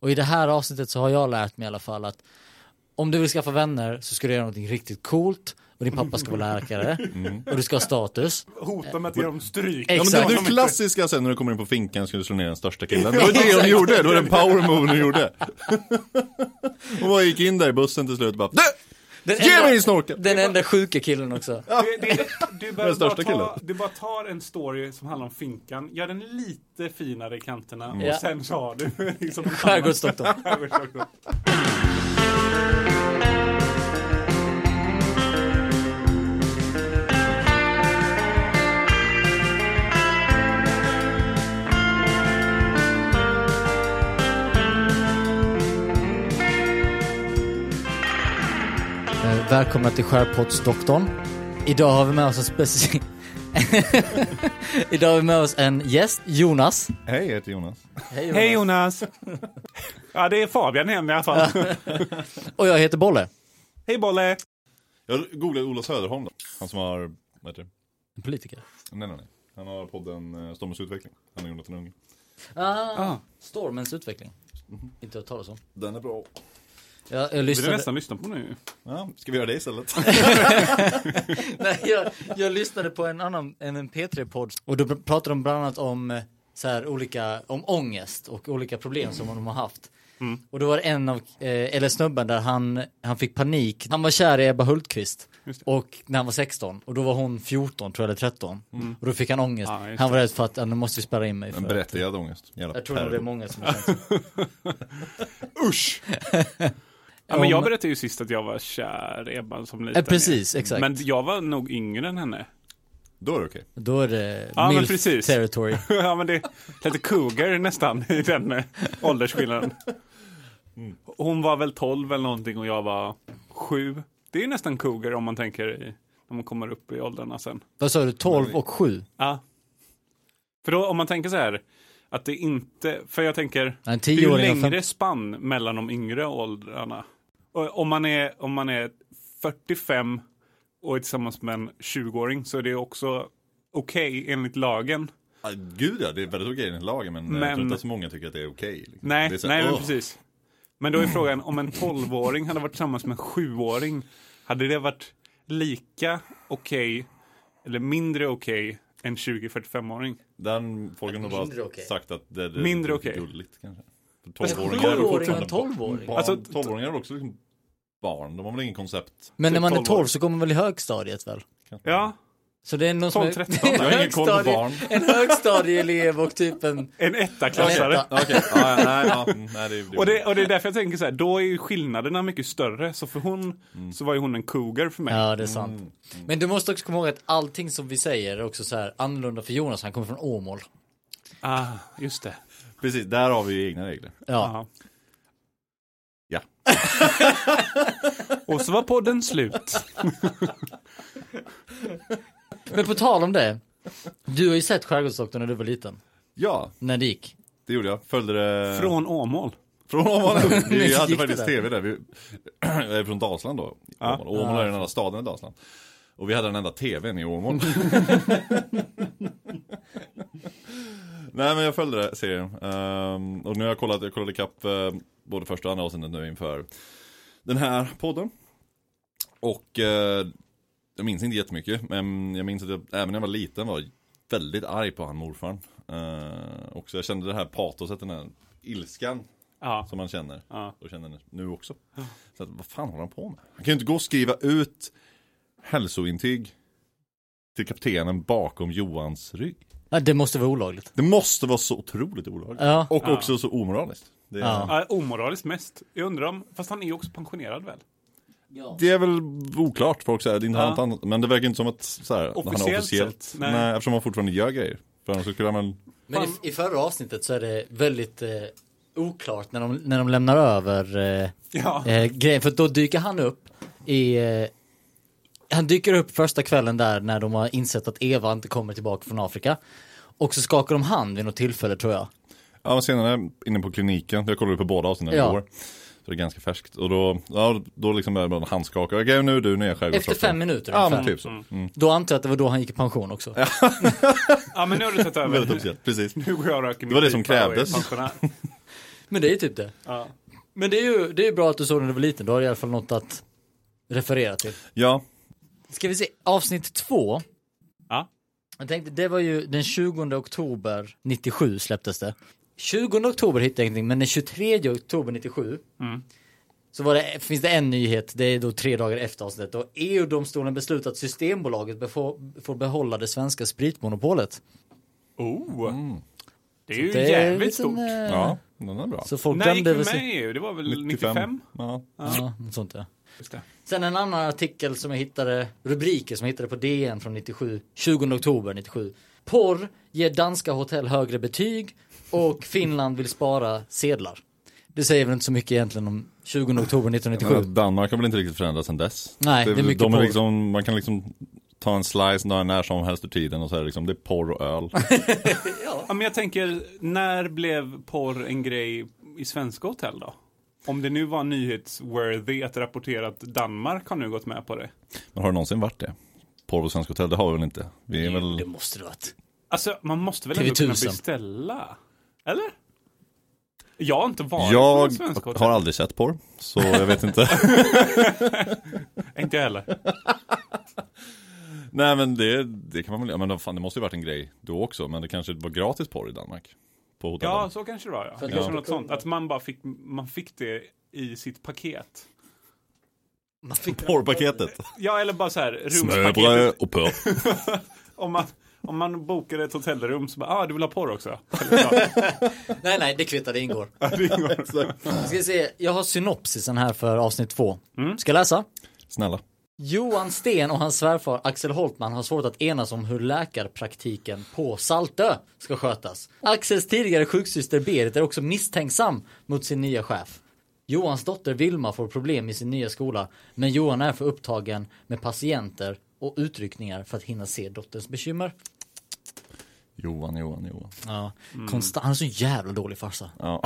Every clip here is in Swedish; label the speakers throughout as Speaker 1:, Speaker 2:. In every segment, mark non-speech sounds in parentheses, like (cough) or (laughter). Speaker 1: Och i det här avsnittet så har jag lärt mig i alla fall att om du vill skaffa vänner så ska du göra någonting riktigt coolt och din pappa ska vara (laughs) läkare och du ska ha status.
Speaker 2: Hota med att ge dem stryk.
Speaker 1: Ex-
Speaker 2: Ja,
Speaker 1: men
Speaker 2: men
Speaker 1: Exakt.
Speaker 2: det
Speaker 1: du
Speaker 2: var
Speaker 1: är
Speaker 2: inte-
Speaker 3: klassiska sen när du kommer in på finkan ska du slå ner den största (laughs) killen. Det var det hon gjorde, det var den power move hon gjorde. Hon bara gick in där i bussen till slut och bara Du!
Speaker 1: Den
Speaker 3: Ge mig din snorkel!
Speaker 1: Den enda sjuka killen också.
Speaker 2: Det, det, du, behöver
Speaker 3: Den största
Speaker 2: bara ta,
Speaker 3: killen.
Speaker 2: du bara tar en story som handlar om finkan, gör den lite finare i kanterna och
Speaker 1: Ja.
Speaker 2: sen så har du (laughs) liksom en annan-
Speaker 1: Skärgårdsdoktorn.
Speaker 2: Skärgårdsdoktorn.
Speaker 1: Eh, Välkomna till Skärpodsdoktorn. Idag har vi med oss en speciell... (laughs) Idag har vi med oss en gäst, Jonas.
Speaker 3: Hej, jag heter Jonas.
Speaker 1: Hej
Speaker 2: Hej Jonas! Ja, det är Fabian hemma i alla fall.
Speaker 1: Och jag heter Bolle.
Speaker 2: Hej Bolle!
Speaker 3: Jag googlade Ola Söderholm då. Han som har, vad heter det?
Speaker 1: En politiker.
Speaker 3: Nej, nej, nej. Han har podden eh, Stormens utveckling. Han har Jonathan Unge.
Speaker 2: Ah.
Speaker 1: Stormens utveckling. Inte hört talas om.
Speaker 3: Den är bra.
Speaker 1: Jag, jag
Speaker 2: Vill du
Speaker 1: lyssnade...
Speaker 2: nästan lyssna på nu?
Speaker 3: Ja, ska vi göra det (laughs) istället?
Speaker 1: Nej, (laughs) jag, jag lyssnade på en annan, en, en P3-podd och då pr- pratade de bland annat om eh, så här, olika, om ångest och olika problem som de har haft.
Speaker 2: Mm.
Speaker 1: Och då var det en av, eh, eller snubben där han, han fick panik. Han var kär i Ebba Hultqvist och när han var 16 och då var hon 14 tror jag eller 13 och då fick han ångest.
Speaker 2: Mm. Ja, just
Speaker 1: han var rädd för att, "Ah, nu måste vi spärra in mig.
Speaker 3: En
Speaker 1: För.
Speaker 3: berättigad ångest. Jävla
Speaker 1: Jag tror nog det är
Speaker 3: pervert.
Speaker 1: många som har
Speaker 2: (laughs)
Speaker 1: känt så.
Speaker 2: Usch! ja, men
Speaker 1: Om-
Speaker 2: jag berättade ju sist att jag var kär i Ebba som liten.
Speaker 1: Eh, precis, exakt.
Speaker 2: Men jag var nog yngre än henne.
Speaker 3: Då är det okej.
Speaker 1: Då är det
Speaker 2: Ja, men
Speaker 1: milf
Speaker 2: precis.
Speaker 1: territory.
Speaker 2: (laughs) ja, men det är lite cougar nästan i den eh, åldersskillnaden. Hon var väl 12 eller någonting och jag var 7. Det är ju nästan cougar om man tänker i, när man kommer upp i åldrarna sen.
Speaker 1: Vad sa du, 12 och 7?
Speaker 2: Ja. För då om man tänker så här, att det inte, för jag tänker,
Speaker 1: Nej, en
Speaker 2: det är ju
Speaker 1: 10-åring och
Speaker 2: längre
Speaker 1: fem-
Speaker 2: spann mellan de yngre åldrarna. Och om man är, om man är 45 och är tillsammans med en 20-åring så är det också okej enligt lagen.
Speaker 3: Ah, Gud ja, det är väldigt okej i den här lagen men, eh, jag
Speaker 2: Men-
Speaker 3: tror inte att så många tycker att det är okej. liksom.
Speaker 2: Nej,
Speaker 3: Det är så här,
Speaker 2: nej men
Speaker 3: "Åh,
Speaker 2: precis. Men då är frågan, om en 12-åring hade varit tillsammans med en 7-åring, hade det varit lika okej eller mindre okej än 20-45-åring?
Speaker 3: Den folk har nog
Speaker 1: Mindre
Speaker 3: bara
Speaker 1: okej.
Speaker 3: sagt att det, det
Speaker 2: Mindre
Speaker 3: det är
Speaker 2: okej.
Speaker 3: gulligt kanske. För
Speaker 1: Alltså,
Speaker 3: 12-åringar är
Speaker 1: 12-åring och en
Speaker 3: fortfarande
Speaker 1: 12-åring.
Speaker 3: barn.
Speaker 2: Alltså,
Speaker 3: 12-åringar är också liksom barn, de har väl ingen koncept.
Speaker 1: Men när man är
Speaker 2: 12
Speaker 1: 12 så går man väl i högstadiet väl?
Speaker 3: kanske.
Speaker 2: Ja,
Speaker 1: Så det är någon som
Speaker 2: 12,
Speaker 1: (laughs)
Speaker 2: 13.
Speaker 1: en
Speaker 3: Jag har ingen koll på
Speaker 1: högstadie-
Speaker 3: barn.
Speaker 1: En högstadieelev och typ
Speaker 3: (laughs)
Speaker 1: en...
Speaker 2: en
Speaker 1: en
Speaker 2: ettaklassare.
Speaker 1: etta.
Speaker 3: Okej, (laughs) ja, ja, nej, ja, mm, nej, det är
Speaker 2: Och det, och det är därför jag tänker så här, då är ju skillnaderna mycket större. Så för hon, så var ju hon en cougar för mig.
Speaker 1: Ja, det
Speaker 3: Mm.
Speaker 1: är sant. Men du måste också komma ihåg att allting som vi säger är också så här annorlunda för Jonas, han kommer från Åmål.
Speaker 2: Ah, just det.
Speaker 3: Precis, där har vi ju egna regler.
Speaker 1: Ja.
Speaker 2: Ja.
Speaker 3: Ja.
Speaker 2: och så var podden slut.
Speaker 1: Men på tal om det, du har ju sett Skärgårdsdoktorn när du var liten.
Speaker 3: Ja,
Speaker 1: När det gick.
Speaker 3: det gjorde jag. Följde det...
Speaker 2: Från Åmål.
Speaker 3: Från Åmål. Vi
Speaker 1: (laughs) gick
Speaker 3: hade
Speaker 1: det där?
Speaker 3: faktiskt tv där. Vi, (clears throat) jag är från Dalsland då.
Speaker 2: Ja.
Speaker 3: Åmål, Åmål är den enda staden i Dalsland. Och vi hade den enda tvn
Speaker 1: (laughs)
Speaker 3: i Åmål. Nej men jag följde det, serien. Ehm, och nu har jag kollat, jag kollade ikapp uh, både första och andra avsnittet nu inför den här podden. Och eh, jag minns inte jättemycket, men jag minns att jag, även när jag var liten var jag väldigt arg på han morfar. Uh, också jag kände det här patoset, den här ilskan
Speaker 2: Ja.
Speaker 3: som man känner.
Speaker 2: Ja.
Speaker 3: Och känner nu också. Så att, vad fan håller han på med? Han kan ju inte gå och skriva ut hälsointyg till kaptenen bakom Johans rygg.
Speaker 1: Ja, det måste vara olagligt.
Speaker 3: Det måste vara så otroligt olagligt.
Speaker 1: Ja.
Speaker 3: Och också så omoraliskt. Det är,
Speaker 1: Ja.
Speaker 2: Ja, omoraliskt mest. Jag undrar om, fast han är ju också pensionerad väl?
Speaker 3: det är väl oklart, folk säger, det är inte
Speaker 2: Ja.
Speaker 3: han, han- men det verkar inte som att så här, att han
Speaker 2: Officiellt
Speaker 3: är officiellt.
Speaker 2: sett, nej.
Speaker 3: Nej. eftersom han fortfarande gör grejer. För annars så skulle han väl,
Speaker 1: Men i, i förra avsnittet så är det väldigt eh, oklart när de, när de lämnar över eh,
Speaker 2: Ja.
Speaker 1: eh, grejen. För då dyker han upp i... Eh, han dyker upp första kvällen där när de har insett att Eva inte kommer tillbaka från Afrika. Och så skakar de hand vid något tillfälle tror jag.
Speaker 3: ja men senare inne på kliniken, jag kollade ju på båda avsnitten
Speaker 1: Ja.
Speaker 3: igår. Så det är ganska färskt. Och då, ja, då liksom började man handskaka, okej nu är du nya
Speaker 1: Efter
Speaker 3: skärgårdsdoktorn.
Speaker 1: fem minuter
Speaker 3: Ja
Speaker 1: ungefär.
Speaker 3: men typ så.
Speaker 1: Då antar jag att det var då han gick i pension också.
Speaker 2: Ja, men nu har du tagit över.
Speaker 3: Väldigt officiellt, precis.
Speaker 2: Nu går jag och röker min
Speaker 3: var det som
Speaker 2: pipa och är
Speaker 3: krävdes.
Speaker 2: pensionär.
Speaker 1: Men det är ju typ det.
Speaker 2: Ja.
Speaker 1: Men det är ju det är ju bra att du såg den när du var liten, då har du i alla fall något att referera till.
Speaker 3: Ja,
Speaker 1: Ska vi se, avsnitt två.
Speaker 2: Ja.
Speaker 1: Jag tänkte, det var ju den 20 oktober 97 släpptes det. 20 oktober hittade jag ingenting, men den 23 oktober 97
Speaker 2: Mm.
Speaker 1: så var det, finns det en nyhet, det är då tre dagar efter avsnittet. Då EU-domstolen beslutat att Systembolaget befo- får behålla det svenska spritmonopolet.
Speaker 2: Oh.
Speaker 3: Mm.
Speaker 2: Det är ju
Speaker 1: Det är
Speaker 2: jävligt
Speaker 1: lite en,
Speaker 2: stort.
Speaker 1: eh,
Speaker 3: ja, den är bra.
Speaker 1: Så folk
Speaker 2: När gick
Speaker 1: dömde väl
Speaker 2: vi med
Speaker 1: sig-
Speaker 2: i EU? Det var väl 95?
Speaker 3: Ja.
Speaker 1: Ja, något sånt ja.
Speaker 2: Just det.
Speaker 1: Sen en annan artikel som jag hittade, rubriker som jag hittade på DN från 97, 20 oktober 97. Porr ger danska hotell högre betyg och Finland vill spara sedlar. Det säger väl inte så mycket egentligen om 20 oktober
Speaker 3: Men
Speaker 1: 1997.
Speaker 3: att Danmark har väl inte riktigt förändrats sedan dess?
Speaker 1: Nej, det är mycket
Speaker 3: de
Speaker 1: porr.
Speaker 3: är liksom, Man kan liksom ta en slice när- när som helst ur tiden och så är det liksom, det är porr och
Speaker 1: (laughs)
Speaker 3: öl.
Speaker 2: Ja, men jag tänker, när blev porr en grej i svenska hotell då? Om det nu var nyhetsworthy att rapportera att Danmark har nu gått med på det.
Speaker 3: Men har det någonsin varit det? Porr och svenska hotell, det har vi väl inte? Vi
Speaker 1: Det
Speaker 3: är väl,
Speaker 1: måste det varit.
Speaker 2: Alltså, man måste väl ändå kunna
Speaker 1: TV1000.
Speaker 2: beställa? Eller? Jag har inte varit på
Speaker 3: jag
Speaker 2: ett svenskt hotell.
Speaker 3: har aldrig sett porr, så jag vet inte. (laughs)
Speaker 2: Inte jag heller.
Speaker 3: Nej men det, det kan man väl, ja, men fan, det måste ju varit en grej då också, men det kanske var gratis porr i Danmark? På hotellen?
Speaker 2: Ja, så kanske det var ja.
Speaker 1: att
Speaker 2: Kanske
Speaker 1: det-
Speaker 2: något sånt. Att man bara fick, man fick det i sitt paket.
Speaker 1: Man fick
Speaker 3: Porrpaketet.
Speaker 2: Ja, eller bara så här, rumspaketet.
Speaker 3: Smörbröd och porr.
Speaker 2: Om man, om man bokar ett hotellrum så bara, ah, du vill ha porr också? Självklart.
Speaker 1: Nej, nej, det kvittar, det (laughs) ingår.
Speaker 2: Det ingår.
Speaker 1: Jag ska se, jag har synopsisen här för avsnitt två. Ska jag läsa?
Speaker 3: Snälla.
Speaker 1: Johan Sten och hans svärfar Axel Holtman har svårt att enas om hur läkarpraktiken på Saltö ska skötas. Axels tidigare sjuksyster Berit är också misstänksam mot sin nya chef. Johans dotter Vilma får problem i sin nya skola, men Johan är för upptagen med patienter och utryckningar för att hinna se dotterns bekymmer.
Speaker 3: Johan, Johan, Johan.
Speaker 1: Ja, konstant. Han är så jävla dålig farsa.
Speaker 3: Ja.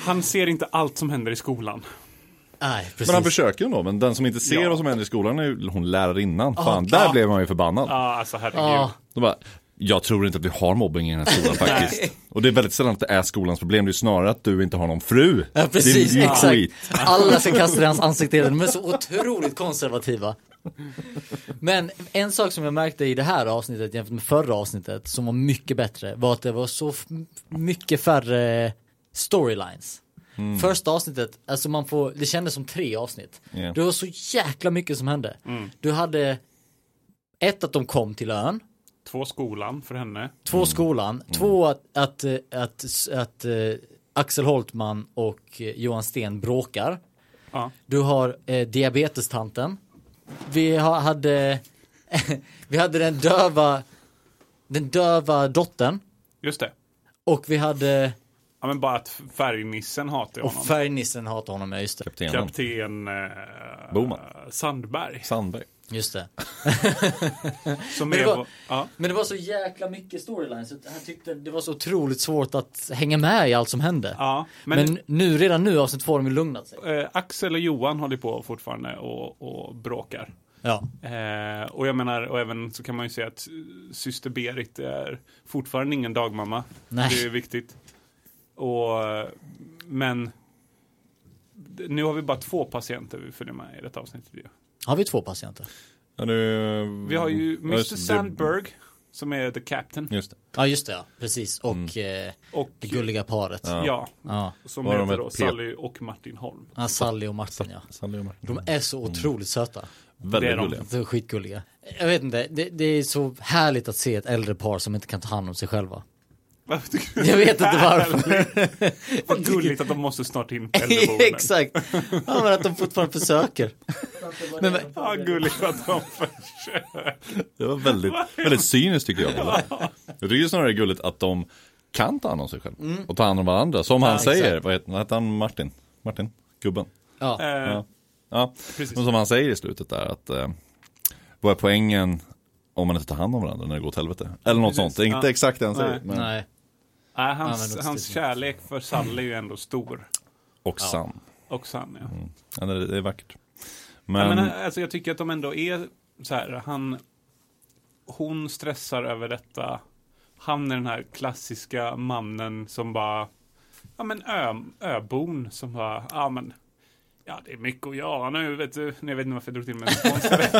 Speaker 2: Han ser inte allt som händer i skolan.
Speaker 1: Nej, precis.
Speaker 3: Men han försöker ju ändå, men den som inte ser
Speaker 2: Ja.
Speaker 3: vad som händer i skolan är ju hon lärarinnan. Fan,
Speaker 1: ja.
Speaker 3: där blev man ju förbannad.
Speaker 2: Ja, alltså herregud.
Speaker 1: Ja,
Speaker 3: De bara, jag tror inte att vi har mobbing i den här skolan
Speaker 2: (laughs)
Speaker 3: faktiskt. Och det är väldigt sällan att det är skolans problem, det är snarare att du inte har någon fru.
Speaker 1: ja, precis.
Speaker 3: Din
Speaker 1: Exakt.
Speaker 3: skit.
Speaker 1: Alla ska kasta i hans ansikte hela tiden. De är så otroligt konservativa. Men en sak som jag märkte i det här avsnittet jämfört med förra avsnittet som var mycket bättre var att det var så f- mycket färre storylines.
Speaker 3: Mm.
Speaker 1: Första avsnittet, alltså man får, det kändes som tre avsnitt.
Speaker 3: Ja.
Speaker 1: Det var så jäkla mycket som hände. Du hade ett att de kom till ön,
Speaker 2: Två skolan för henne.
Speaker 1: två
Speaker 3: Mm.
Speaker 1: skolan, två att, att, eh, att, att, eh, Axel Holtman och eh, Johan Sten bråkar.
Speaker 2: Ja.
Speaker 1: Du har eh, diabetestanten. Vi har, hade, (laughs) vi hade den döva, den döva dottern.
Speaker 2: Just det.
Speaker 1: Och vi hade,
Speaker 2: Ja, men bara att färgnissen hatar
Speaker 1: och
Speaker 2: honom.
Speaker 1: färgnissen hatar honom, ja just det.
Speaker 3: Kaptenen.
Speaker 2: Kapten eh,
Speaker 3: Boman.
Speaker 2: Sandberg.
Speaker 3: Sandberg.
Speaker 1: Just det.
Speaker 2: Som
Speaker 1: Men det
Speaker 2: är,
Speaker 1: var-
Speaker 2: ja,
Speaker 1: Men det var så jäkla mycket storylines. så Jag tyckte det var så otroligt svårt att hänga med i allt som hände.
Speaker 2: ja. Men,
Speaker 1: Men, nu, redan nu, avsnitt två har de ju lugnat sig.
Speaker 2: eh, Axel och Johan håller på fortfarande och, och bråkar.
Speaker 1: Ja.
Speaker 2: Eh, och jag menar, och även så kan man ju säga att eh, syster Berit är fortfarande ingen dagmamma.
Speaker 1: Nej.
Speaker 2: Det är viktigt. Och, eh, men d- nu har vi bara två patienter vi följer med i detta avsnittet. ju.
Speaker 1: Har vi två patienter?
Speaker 3: Ja, nu...
Speaker 2: Vi har ju
Speaker 3: Mm. Ja,
Speaker 2: Mr
Speaker 3: just det.
Speaker 2: Sandberg som är the captain.
Speaker 3: Just det.
Speaker 1: Ja just det ja, precis. Och eh,
Speaker 2: Och
Speaker 1: det gulliga paret. Ja.
Speaker 2: ja,
Speaker 1: ja.
Speaker 2: som
Speaker 3: Vad har de
Speaker 2: heter då
Speaker 3: ett P-
Speaker 2: Sally och Martin Holm. (laughs)
Speaker 1: Sally och Martin ja.
Speaker 3: Sandberg och Martin.
Speaker 1: De är så otroligt söta.
Speaker 3: Väldigt
Speaker 2: Det är de.
Speaker 3: gulliga.
Speaker 1: De är Alltså, skitgulliga. Jag vet inte, det, det är så härligt att se ett äldre par som inte kan ta hand om sig själva.
Speaker 2: Varför tycker du-
Speaker 1: Jag vet
Speaker 2: (laughs)
Speaker 1: inte (laughs) varför.
Speaker 2: Vad gulligt att de måste
Speaker 1: (laughs)
Speaker 2: snart in på äldreboenden.
Speaker 1: Exakt. Ja, men att de fortfarande
Speaker 2: (laughs)
Speaker 1: försöker. Men, men,
Speaker 2: Ja, gulligt att
Speaker 3: (laughs)
Speaker 2: de försöker.
Speaker 3: Det
Speaker 2: (laughs)
Speaker 3: var väldigt, väldigt cyniskt tycker jag. Jag tycker ju snarare det är gulligt att de kan ta hand om sig själva.
Speaker 2: Mm.
Speaker 3: Och ta hand om varandra. Som han
Speaker 1: exakt.
Speaker 3: säger, vad heter, vad heter han, Martin? Martin? Gubben?
Speaker 1: ja.
Speaker 2: Eh,
Speaker 3: Ja. ja.
Speaker 2: Precis.
Speaker 3: Men som han säger i slutet där att eh, vad är poängen om man inte tar hand om varandra när det går åt helvete? Eller något
Speaker 2: Precis.
Speaker 3: sånt, det är inte
Speaker 2: Ja.
Speaker 3: exakt det han säger.
Speaker 2: Nej.
Speaker 3: Men,
Speaker 1: Nej.
Speaker 2: Nej,
Speaker 1: men
Speaker 2: hans,
Speaker 1: då
Speaker 2: hans
Speaker 1: styrs det.
Speaker 2: kärlek för Sally är ju ändå stor.
Speaker 3: Och sann.
Speaker 2: Och sann, ja.
Speaker 3: Ja, det, det är vackert.
Speaker 2: Jag,
Speaker 3: Men,
Speaker 2: menar, alltså, jag tycker att de ändå är så här, han, hon stressar över detta. han är den här klassiska mannen som bara, ja men ö, öbon som bara, ja men, ja det är mycket att göra nu vet du. Nej, Jag vet inte varför jag drog till med en skånsk.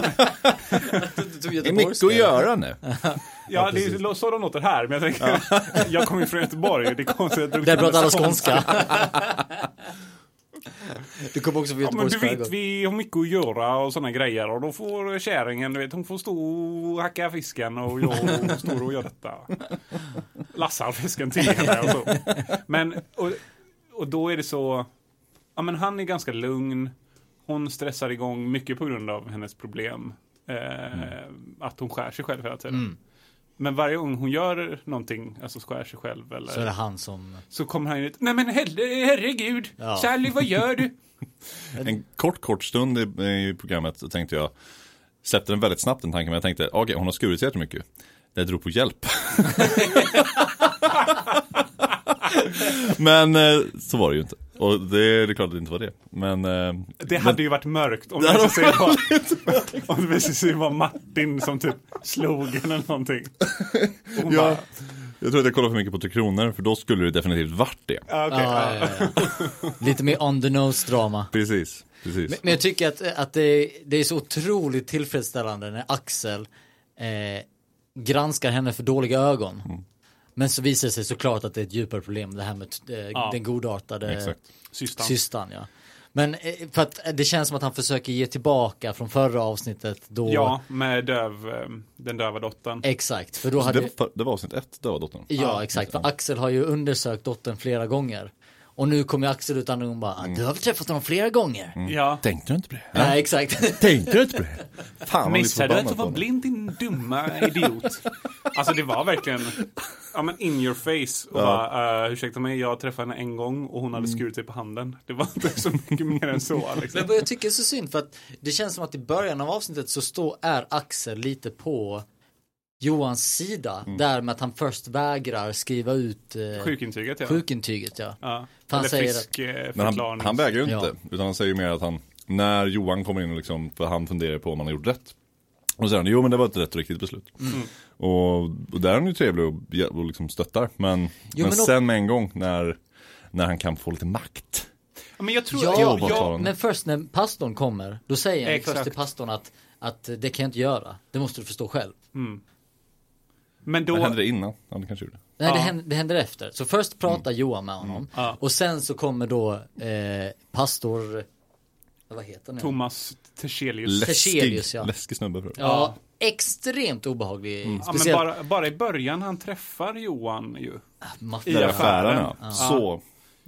Speaker 1: Du tog
Speaker 4: Det är mycket att göra nu.
Speaker 2: (laughs) Ja, det är så de låter här, men jag tänker, (laughs) jag kommer ju från Göteborg, det är konstigt att jag drog
Speaker 1: Där
Speaker 2: till
Speaker 1: pratar alla
Speaker 2: med (laughs)
Speaker 1: skånska. Du kommer också från
Speaker 2: Ja, men
Speaker 1: Göteborgs
Speaker 2: du vet, vi har mycket att göra och sådana grejer och då får kärringen, du vet, hon får stå och hacka fisken och
Speaker 1: (laughs)
Speaker 2: jag står och gör detta. Lassar fisken till henne och så. Men, och, och då är det så, ja men han är ganska lugn. Hon stressar igång mycket på grund av hennes problem. Eh,
Speaker 1: Mm.
Speaker 2: Att hon skär sig själv hela tiden. Men varje gång hon gör någonting, alltså skär sig själv eller
Speaker 1: Så är det han som...
Speaker 2: så kommer han ut. Nej men herre- herregud,
Speaker 1: Ja.
Speaker 2: Sally vad gör du?
Speaker 3: En kort, kort stund i, i programmet så tänkte jag, släppte den väldigt snabbt den tanken, men jag tänkte, okej, hon har skurit sig jättemycket. Det drog
Speaker 2: (laughs)
Speaker 3: på hjälp. (laughs) men eh, så var det ju inte. Och det, det är klart att det inte var det. Men eh,
Speaker 2: Det hade ju varit mörkt om det visade sig vara om det visade sig vara Martin som typ slog henne eller någonting. Och hon
Speaker 3: Ja.
Speaker 2: ja.
Speaker 3: jag tror att jag kollar för mycket på Tre Kronor, för då skulle det definitivt varit det.
Speaker 2: bara, "Ah, okej.
Speaker 1: Ja, ja, ja. Lite mer on the nose drama.
Speaker 3: Precis, precis.
Speaker 1: Men, men jag tycker att, att det, det är så otroligt tillfredsställande när Axel eh, granskar henne för dåliga ögon. Men så visar det sig såklart att det är ett djupare problem, det här med t- eh, den godartade
Speaker 3: Exakt.
Speaker 2: Systern.
Speaker 1: systern. Ja. Men eh, för att eh, det känns som att han försöker ge tillbaka från förra avsnittet då.
Speaker 2: Ja, med döv, eh, den döva dottern.
Speaker 1: Exakt, för då hade...
Speaker 3: Det, var- det var avsnitt ett, det var dottern.
Speaker 1: Ja, exakt. För Axel har ju undersökt dottern flera gånger. Och nu kommer ju Axel ut och hon bara, "Ah, du har väl träffat honom flera gånger?
Speaker 2: Ja.
Speaker 3: Ah, Tänkte du inte på det? Ah,
Speaker 1: Nej, exakt.
Speaker 3: Tänkte du inte på det? Fan, vad
Speaker 2: Missade du
Speaker 3: förbannad
Speaker 2: att du
Speaker 3: på
Speaker 2: var
Speaker 3: henne.
Speaker 2: blind din dumma idiot? Alltså det var verkligen, ja men in your face. Och bara, eh, ursäkta mig, jag träffade henne en gång och hon hade skurit sig på handen. Det var inte så mycket mer än (laughs) så. Liksom.
Speaker 1: Men vad jag tycker är så synd för att det känns som att i början av avsnittet så står, är Axel lite på Johans sida. Där med att han först vägrar skriva ut eh,
Speaker 2: Sjukintyget ja.
Speaker 1: sjukintyget. Ja.
Speaker 2: ja.
Speaker 1: För han
Speaker 2: Eller
Speaker 1: säger
Speaker 2: frisk eh,
Speaker 3: Men
Speaker 2: förklaring.
Speaker 3: han, han vägrar ju inte,
Speaker 1: Ja.
Speaker 3: utan han säger ju mer att han, när Johan kommer in och liksom, för han funderar på om han har gjort rätt. Och så säger han, jo men det var ett rätt och riktigt beslut. Och, och där är han ju trevlig och, hjä- och liksom stöttar. Men, men,
Speaker 1: men och-
Speaker 3: sen med en gång när, när han kan få lite makt.
Speaker 2: Ja, men jag tror,
Speaker 1: Ja,
Speaker 2: jag,
Speaker 3: vad tar
Speaker 2: jag,
Speaker 3: han?
Speaker 1: Men först när pastorn kommer, då säger han ju först
Speaker 2: Exakt.
Speaker 1: till pastorn att, att det kan jag inte göra. Det måste du förstå själv.
Speaker 2: men då,
Speaker 3: Vad hände det innan? Ja, det kanske gjorde.
Speaker 1: Nej, det,
Speaker 2: Ja. Mm.
Speaker 1: händer, det händer efter. Så först pratar Johan med honom.
Speaker 2: Ja.
Speaker 1: Och sen så kommer då eh, pastor, vad heter han nu?
Speaker 2: Thomas Terselius.
Speaker 3: Läskig,
Speaker 1: Terselius, ja.
Speaker 3: läskig snubbe. För.
Speaker 1: Ja, extremt obehaglig.
Speaker 2: Ja, men
Speaker 1: Speciellt
Speaker 2: bara, bara i början han träffar Johan ju.
Speaker 1: maffia.
Speaker 2: i
Speaker 3: Där
Speaker 2: affären.
Speaker 3: affären ja. Så.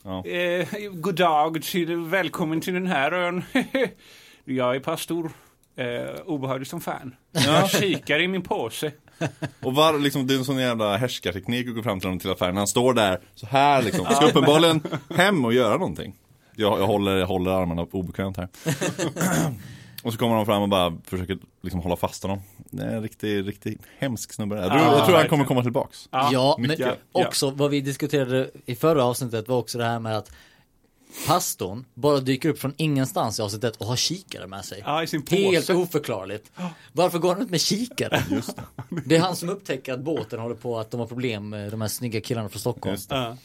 Speaker 2: Eh, god dag, till, välkommen till den här ön. (laughs) jag är pastor. Eh, obehaglig som fan. Jag kikar i min påse.
Speaker 3: Och var, liksom, det är en sån jävla härskarteknik att gå fram till honom till affären. Han står där så här liksom. Ska uppenbarligen hem och göra någonting. Jag, jag, håller, jag håller armarna upp
Speaker 2: (clears throat)
Speaker 3: obekvämt här. och så kommer han fram och bara försöker liksom hålla fast honom. Det är en riktig, riktig hemsk snubbe. Jag tror, jag tror han kommer komma tillbaks.
Speaker 1: Ja, men
Speaker 3: mycket.
Speaker 1: också vad vi diskuterade i förra avsnittet var också det här med att pastorn bara dyker upp från ingenstans i avsnittet och har kikare med sig.
Speaker 2: Ja, i sin påse.
Speaker 1: Helt oförklarligt. Varför går han ut med kikare? det. är han som upptäcker att båten håller på att de har problem med de här snygga killarna från Stockholm.
Speaker 3: Just
Speaker 2: Ja.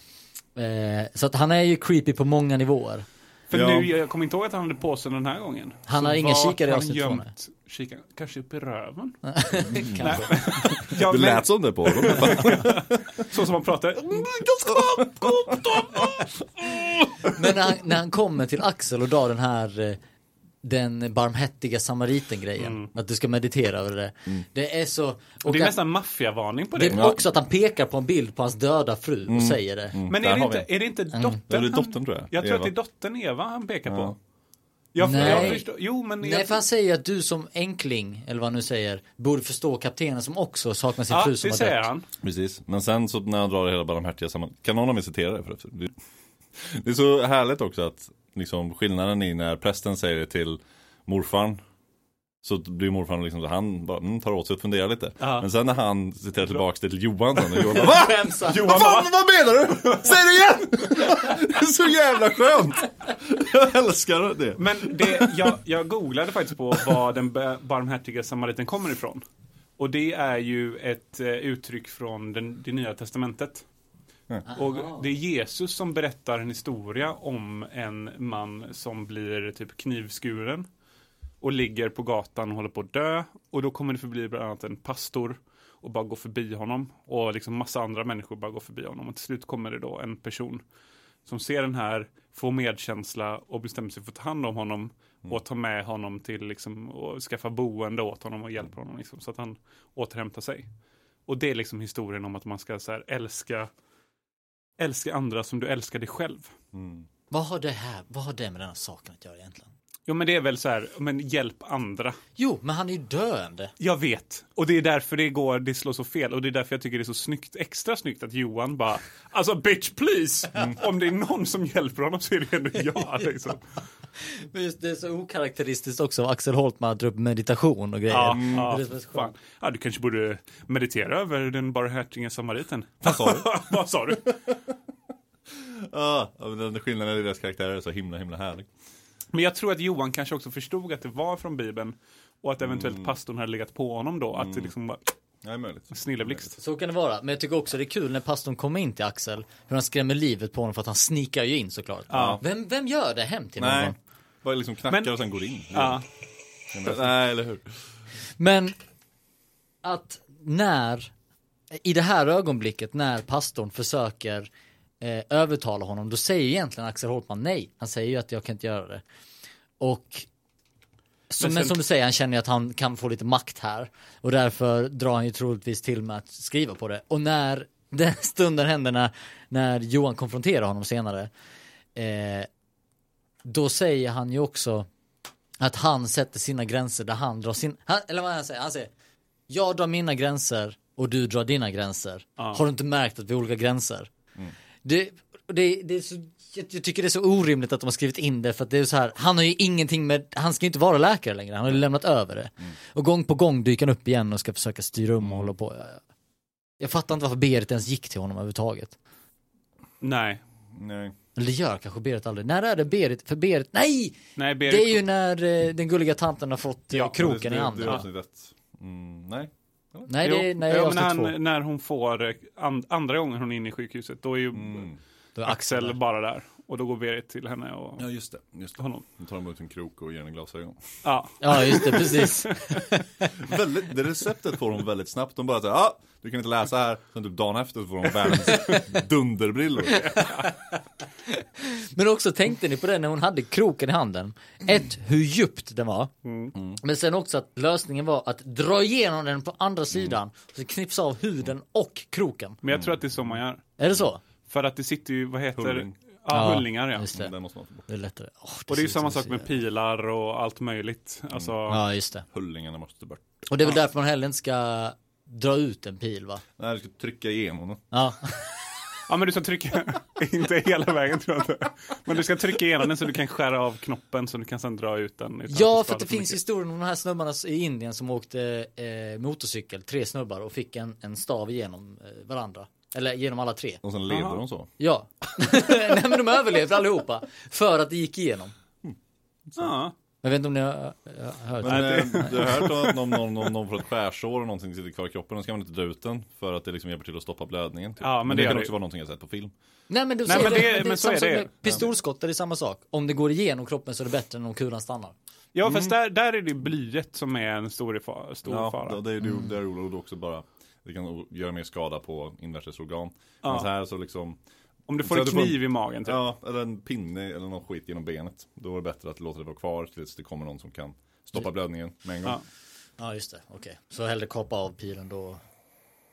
Speaker 1: Eh, så att han är ju creepy på många nivåer.
Speaker 2: För
Speaker 3: Ja.
Speaker 2: nu, jag kommer inte ihåg att han hade påsen den här gången.
Speaker 1: Han
Speaker 2: Så
Speaker 1: har ingen
Speaker 2: vart
Speaker 1: kikare i
Speaker 2: har han
Speaker 1: avsnitt två, nej.
Speaker 2: gömt Kikaren, kanske upp i röven.
Speaker 1: Kanske.
Speaker 2: Ja,
Speaker 3: Det
Speaker 2: men-
Speaker 3: lät som det på honom.
Speaker 2: Så som han pratar.
Speaker 1: Men när han, när han kommer till Axel och drar den här eh, den barmhärtiga samariten grejen. Att du ska meditera över det. Det är så. Och
Speaker 2: Det är
Speaker 1: att-
Speaker 2: nästan maffiavarning på
Speaker 1: Det
Speaker 2: det.
Speaker 1: är också att han pekar på en bild på hans döda fru och säger det.
Speaker 2: Men
Speaker 3: Där
Speaker 2: är det,
Speaker 3: har
Speaker 2: inte, är det inte dottern?
Speaker 3: Ja, det är
Speaker 2: han-
Speaker 3: dottern, tror jag.
Speaker 2: Jag tror
Speaker 3: Eva.
Speaker 2: att det är dottern Eva han pekar på. Jag,
Speaker 1: Nej.
Speaker 2: jag förstår, jo men
Speaker 1: Nej,
Speaker 2: jag,
Speaker 1: för han säger att du som enkling, eller vad han nu säger, borde förstå kaptenen som också saknar sin
Speaker 2: ja,
Speaker 1: fru som
Speaker 2: det
Speaker 1: har
Speaker 2: säger
Speaker 1: dött.
Speaker 2: han.
Speaker 3: Precis, men sen så när han drar det hela barmhärtiga samman Kan någon av er citera det förresten? Det- (laughs) Det är så härligt också att liksom, skillnaden i när prästen säger det till morfarn så blir morfarn liksom, han bara, mm, tar åt sig och funderar lite. Men sen när han citerar tillbaks det till Johan sen, (laughs) och Johan bara, Va?
Speaker 1: Skämsar.
Speaker 3: Vad fan, vad menar du? Säg det igen! (laughs) Det är så jävla skönt! Jag älskar det.
Speaker 2: Men det, jag, jag googlade faktiskt på var den be- barmhärtiga samariten kommer ifrån. Och det är ju ett eh, uttryck från den, det nya testamentet. Och det är Jesus som berättar en historia om en man som blir typ knivskuren och ligger på gatan och håller på att dö. Och då kommer det förbi bland annat en pastor och bara går förbi honom. Och liksom massa andra människor bara går förbi honom. Och till slut kommer det då en person som ser den här, får medkänsla och bestämmer sig för att ta hand om honom och ta med honom till liksom, och skaffa boende åt honom och hjälpa honom liksom, så att han återhämtar sig. Och det är liksom historien om att man ska så här, älska, älska andra som du älskar dig själv.
Speaker 1: Vad har det här, vad har det med denna saken att göra egentligen?
Speaker 2: Jo men det är väl så här, men hjälp andra.
Speaker 1: Jo, men han är ju döende.
Speaker 2: Jag vet. Och det är därför det går, det slår så fel. Och det är därför jag tycker det är så snyggt, extra snyggt att Johan bara, alltså bitch please! Om det är någon som hjälper honom så är det ändå jag liksom.
Speaker 1: Men just det är så okaraktäristiskt också av Axel Holtman att dra upp meditation och grejer.
Speaker 2: Ja,
Speaker 1: Det är
Speaker 2: ja,
Speaker 1: det som är så
Speaker 2: fan.
Speaker 1: skönt.
Speaker 2: ja, du kanske borde meditera över den barmhärtige samariten. Vad sa du? (laughs) Vad sa du?
Speaker 3: Ja, men den skillnaden i deras karaktärer är så himla himla härlig.
Speaker 2: Men jag tror att Johan kanske också förstod att det var från Bibeln och att eventuellt pastorn hade legat på honom då. Att det liksom var
Speaker 3: Ja, det är möjligt.
Speaker 2: snilleblixt.
Speaker 1: Så kan det vara. Men jag tycker också det är kul när pastorn kommer in till Axel, hur han skrämmer livet på honom för att han sneakar ju in såklart. Vem, vem gör det hem till
Speaker 3: Nej,
Speaker 1: någon?
Speaker 3: bara liksom knackar
Speaker 2: Men-
Speaker 3: och sen går in.
Speaker 2: Ja.
Speaker 3: Nej, eller hur.
Speaker 1: Men att när, i det här ögonblicket när pastorn försöker eh, övertala honom, då säger ju egentligen Axel Holtman nej. Han säger ju att jag kan inte göra det. Och som, men,
Speaker 2: Men sen-
Speaker 1: som du säger, han känner ju att han kan få lite makt här. Och därför drar han ju troligtvis till med att skriva på det. Och när den (laughs) stunden händer när, när Johan konfronterar honom senare, eh, då säger han ju också att han sätter sina gränser där han drar sin, han, eller vad han säger, han säger jag drar mina gränser och du drar dina gränser. Har du inte märkt att vi har olika gränser? Det, det, det är så, jag, jag tycker det är så orimligt att de har skrivit in det för att det är så här, han har ju ingenting med, han ska ju inte vara läkare längre, han har ju lämnat över det. Och gång på gång dyker han upp igen och ska försöka styra om och hålla på. Jag, jag, jag fattar inte varför Berit ens gick till honom överhuvudtaget.
Speaker 2: Nej.
Speaker 3: Nej.
Speaker 1: Eller det gör kanske Berit aldrig. När är det Berit? För Berit, nej!
Speaker 2: Nej, Berit.
Speaker 1: Det är ju när eh, den gulliga tanten har fått eh,
Speaker 2: Ja,
Speaker 1: kroken
Speaker 3: det,
Speaker 1: i
Speaker 3: det,
Speaker 1: handen.
Speaker 3: Det är avsnitt ett. Mm, nej.
Speaker 1: Nej, det är, nej,
Speaker 2: jo,
Speaker 1: jag
Speaker 2: men
Speaker 1: avsnitt två.
Speaker 2: han, när hon får, eh, an, andra gången hon är inne i sjukhuset, då är ju
Speaker 1: Då är
Speaker 2: Axel
Speaker 1: Axel.
Speaker 2: bara där. Och då går Berit till henne och
Speaker 3: Ja, just det. Just det.
Speaker 2: honom.
Speaker 3: Nu tar de ut en krok och ger henne glasögon.
Speaker 2: Ja,
Speaker 1: Ja, just det, precis.
Speaker 3: (laughs)
Speaker 1: (laughs)
Speaker 3: Väldigt, det receptet får hon väldigt snabbt. De bara säger ah, du kan inte läsa här. Sen typ dagen efter så får hon världens (laughs) dunderbrillor.
Speaker 1: Men också tänkte ni på det när hon hade kroken i handen. Ett, hur djupt den var.
Speaker 2: Mm.
Speaker 1: Men sen också att lösningen var att dra igenom den på andra
Speaker 2: Mm.
Speaker 1: sidan. Så knipsa av huden och kroken.
Speaker 2: men jag tror att det är så man gör.
Speaker 1: Är det så?
Speaker 2: För att det sitter ju, vad heter
Speaker 3: Hulling.
Speaker 2: Ja, hullingar ja.
Speaker 1: Just det.
Speaker 3: Den måste man få bort.
Speaker 1: Det är lättare. Åh,
Speaker 2: Och det är
Speaker 1: ser
Speaker 2: ju
Speaker 1: ut som
Speaker 2: samma
Speaker 1: en
Speaker 2: sak med
Speaker 1: syra.
Speaker 2: pilar och allt möjligt. Alltså,
Speaker 1: Ja, just det.
Speaker 3: Hullingarna måste bort.
Speaker 1: Och det är väl därför man heller inte ska dra ut en pil va?
Speaker 3: Nej, du ska trycka igenom den.
Speaker 1: Ja.
Speaker 2: Ja men du ska trycka, (laughs) inte hela vägen tror jag inte. Men du ska trycka igenom den så du kan skära av knoppen så du kan sen dra ut den. utan
Speaker 1: Ja,
Speaker 2: att
Speaker 1: för
Speaker 2: skadar
Speaker 1: att det
Speaker 2: för
Speaker 1: finns
Speaker 2: mycket.
Speaker 1: historien om de här snubbarna i Indien som åkte eh, motorcykel, tre snubbar och fick en, en stav genom eh, varandra. Eller genom alla tre.
Speaker 3: Och sen leder
Speaker 2: Aha.
Speaker 3: de så.
Speaker 1: Ja. (laughs) Nej men de överlevde allihopa. För att det gick igenom.
Speaker 2: Ja,
Speaker 1: Jag vet inte om ni har, har hört.
Speaker 3: Men eh, du har hört om att om någon, om någon får ett skärsår eller någonting sitter kvar i kroppen, då ska man inte dra ut den. För att det liksom hjälper till att stoppa blödningen. Typ.
Speaker 2: Ja, men det
Speaker 3: kan
Speaker 2: gör det
Speaker 3: också
Speaker 2: ju.
Speaker 3: vara någonting jag sett på film.
Speaker 1: Nej men, du
Speaker 2: Nej,
Speaker 1: säger
Speaker 2: men det-
Speaker 1: det,
Speaker 2: men så
Speaker 1: samma
Speaker 2: är
Speaker 1: sak
Speaker 2: det.
Speaker 1: med Pistolskott är det samma sak. Om det går igenom kroppen så är det bättre än om kulan stannar.
Speaker 2: ja fast
Speaker 1: Mm.
Speaker 2: där, där är det blyet som är en stor, fa- stor fara.
Speaker 3: det, det är
Speaker 1: Mm.
Speaker 3: ju det är roligt också bara. Det kan o- göra mer skada på invärtes organ. Men så här så liksom,
Speaker 2: Om du
Speaker 3: Så
Speaker 2: får en
Speaker 3: att du får en-
Speaker 2: kniv i magen typ.
Speaker 3: ja, eller en pinne eller någon skit genom benet. Då är det bättre att låta det vara kvar tills det kommer någon som kan stoppa blödningen med en gång.
Speaker 2: Ja.
Speaker 1: Ja just det, okej. Så hellre kapa av pilen då.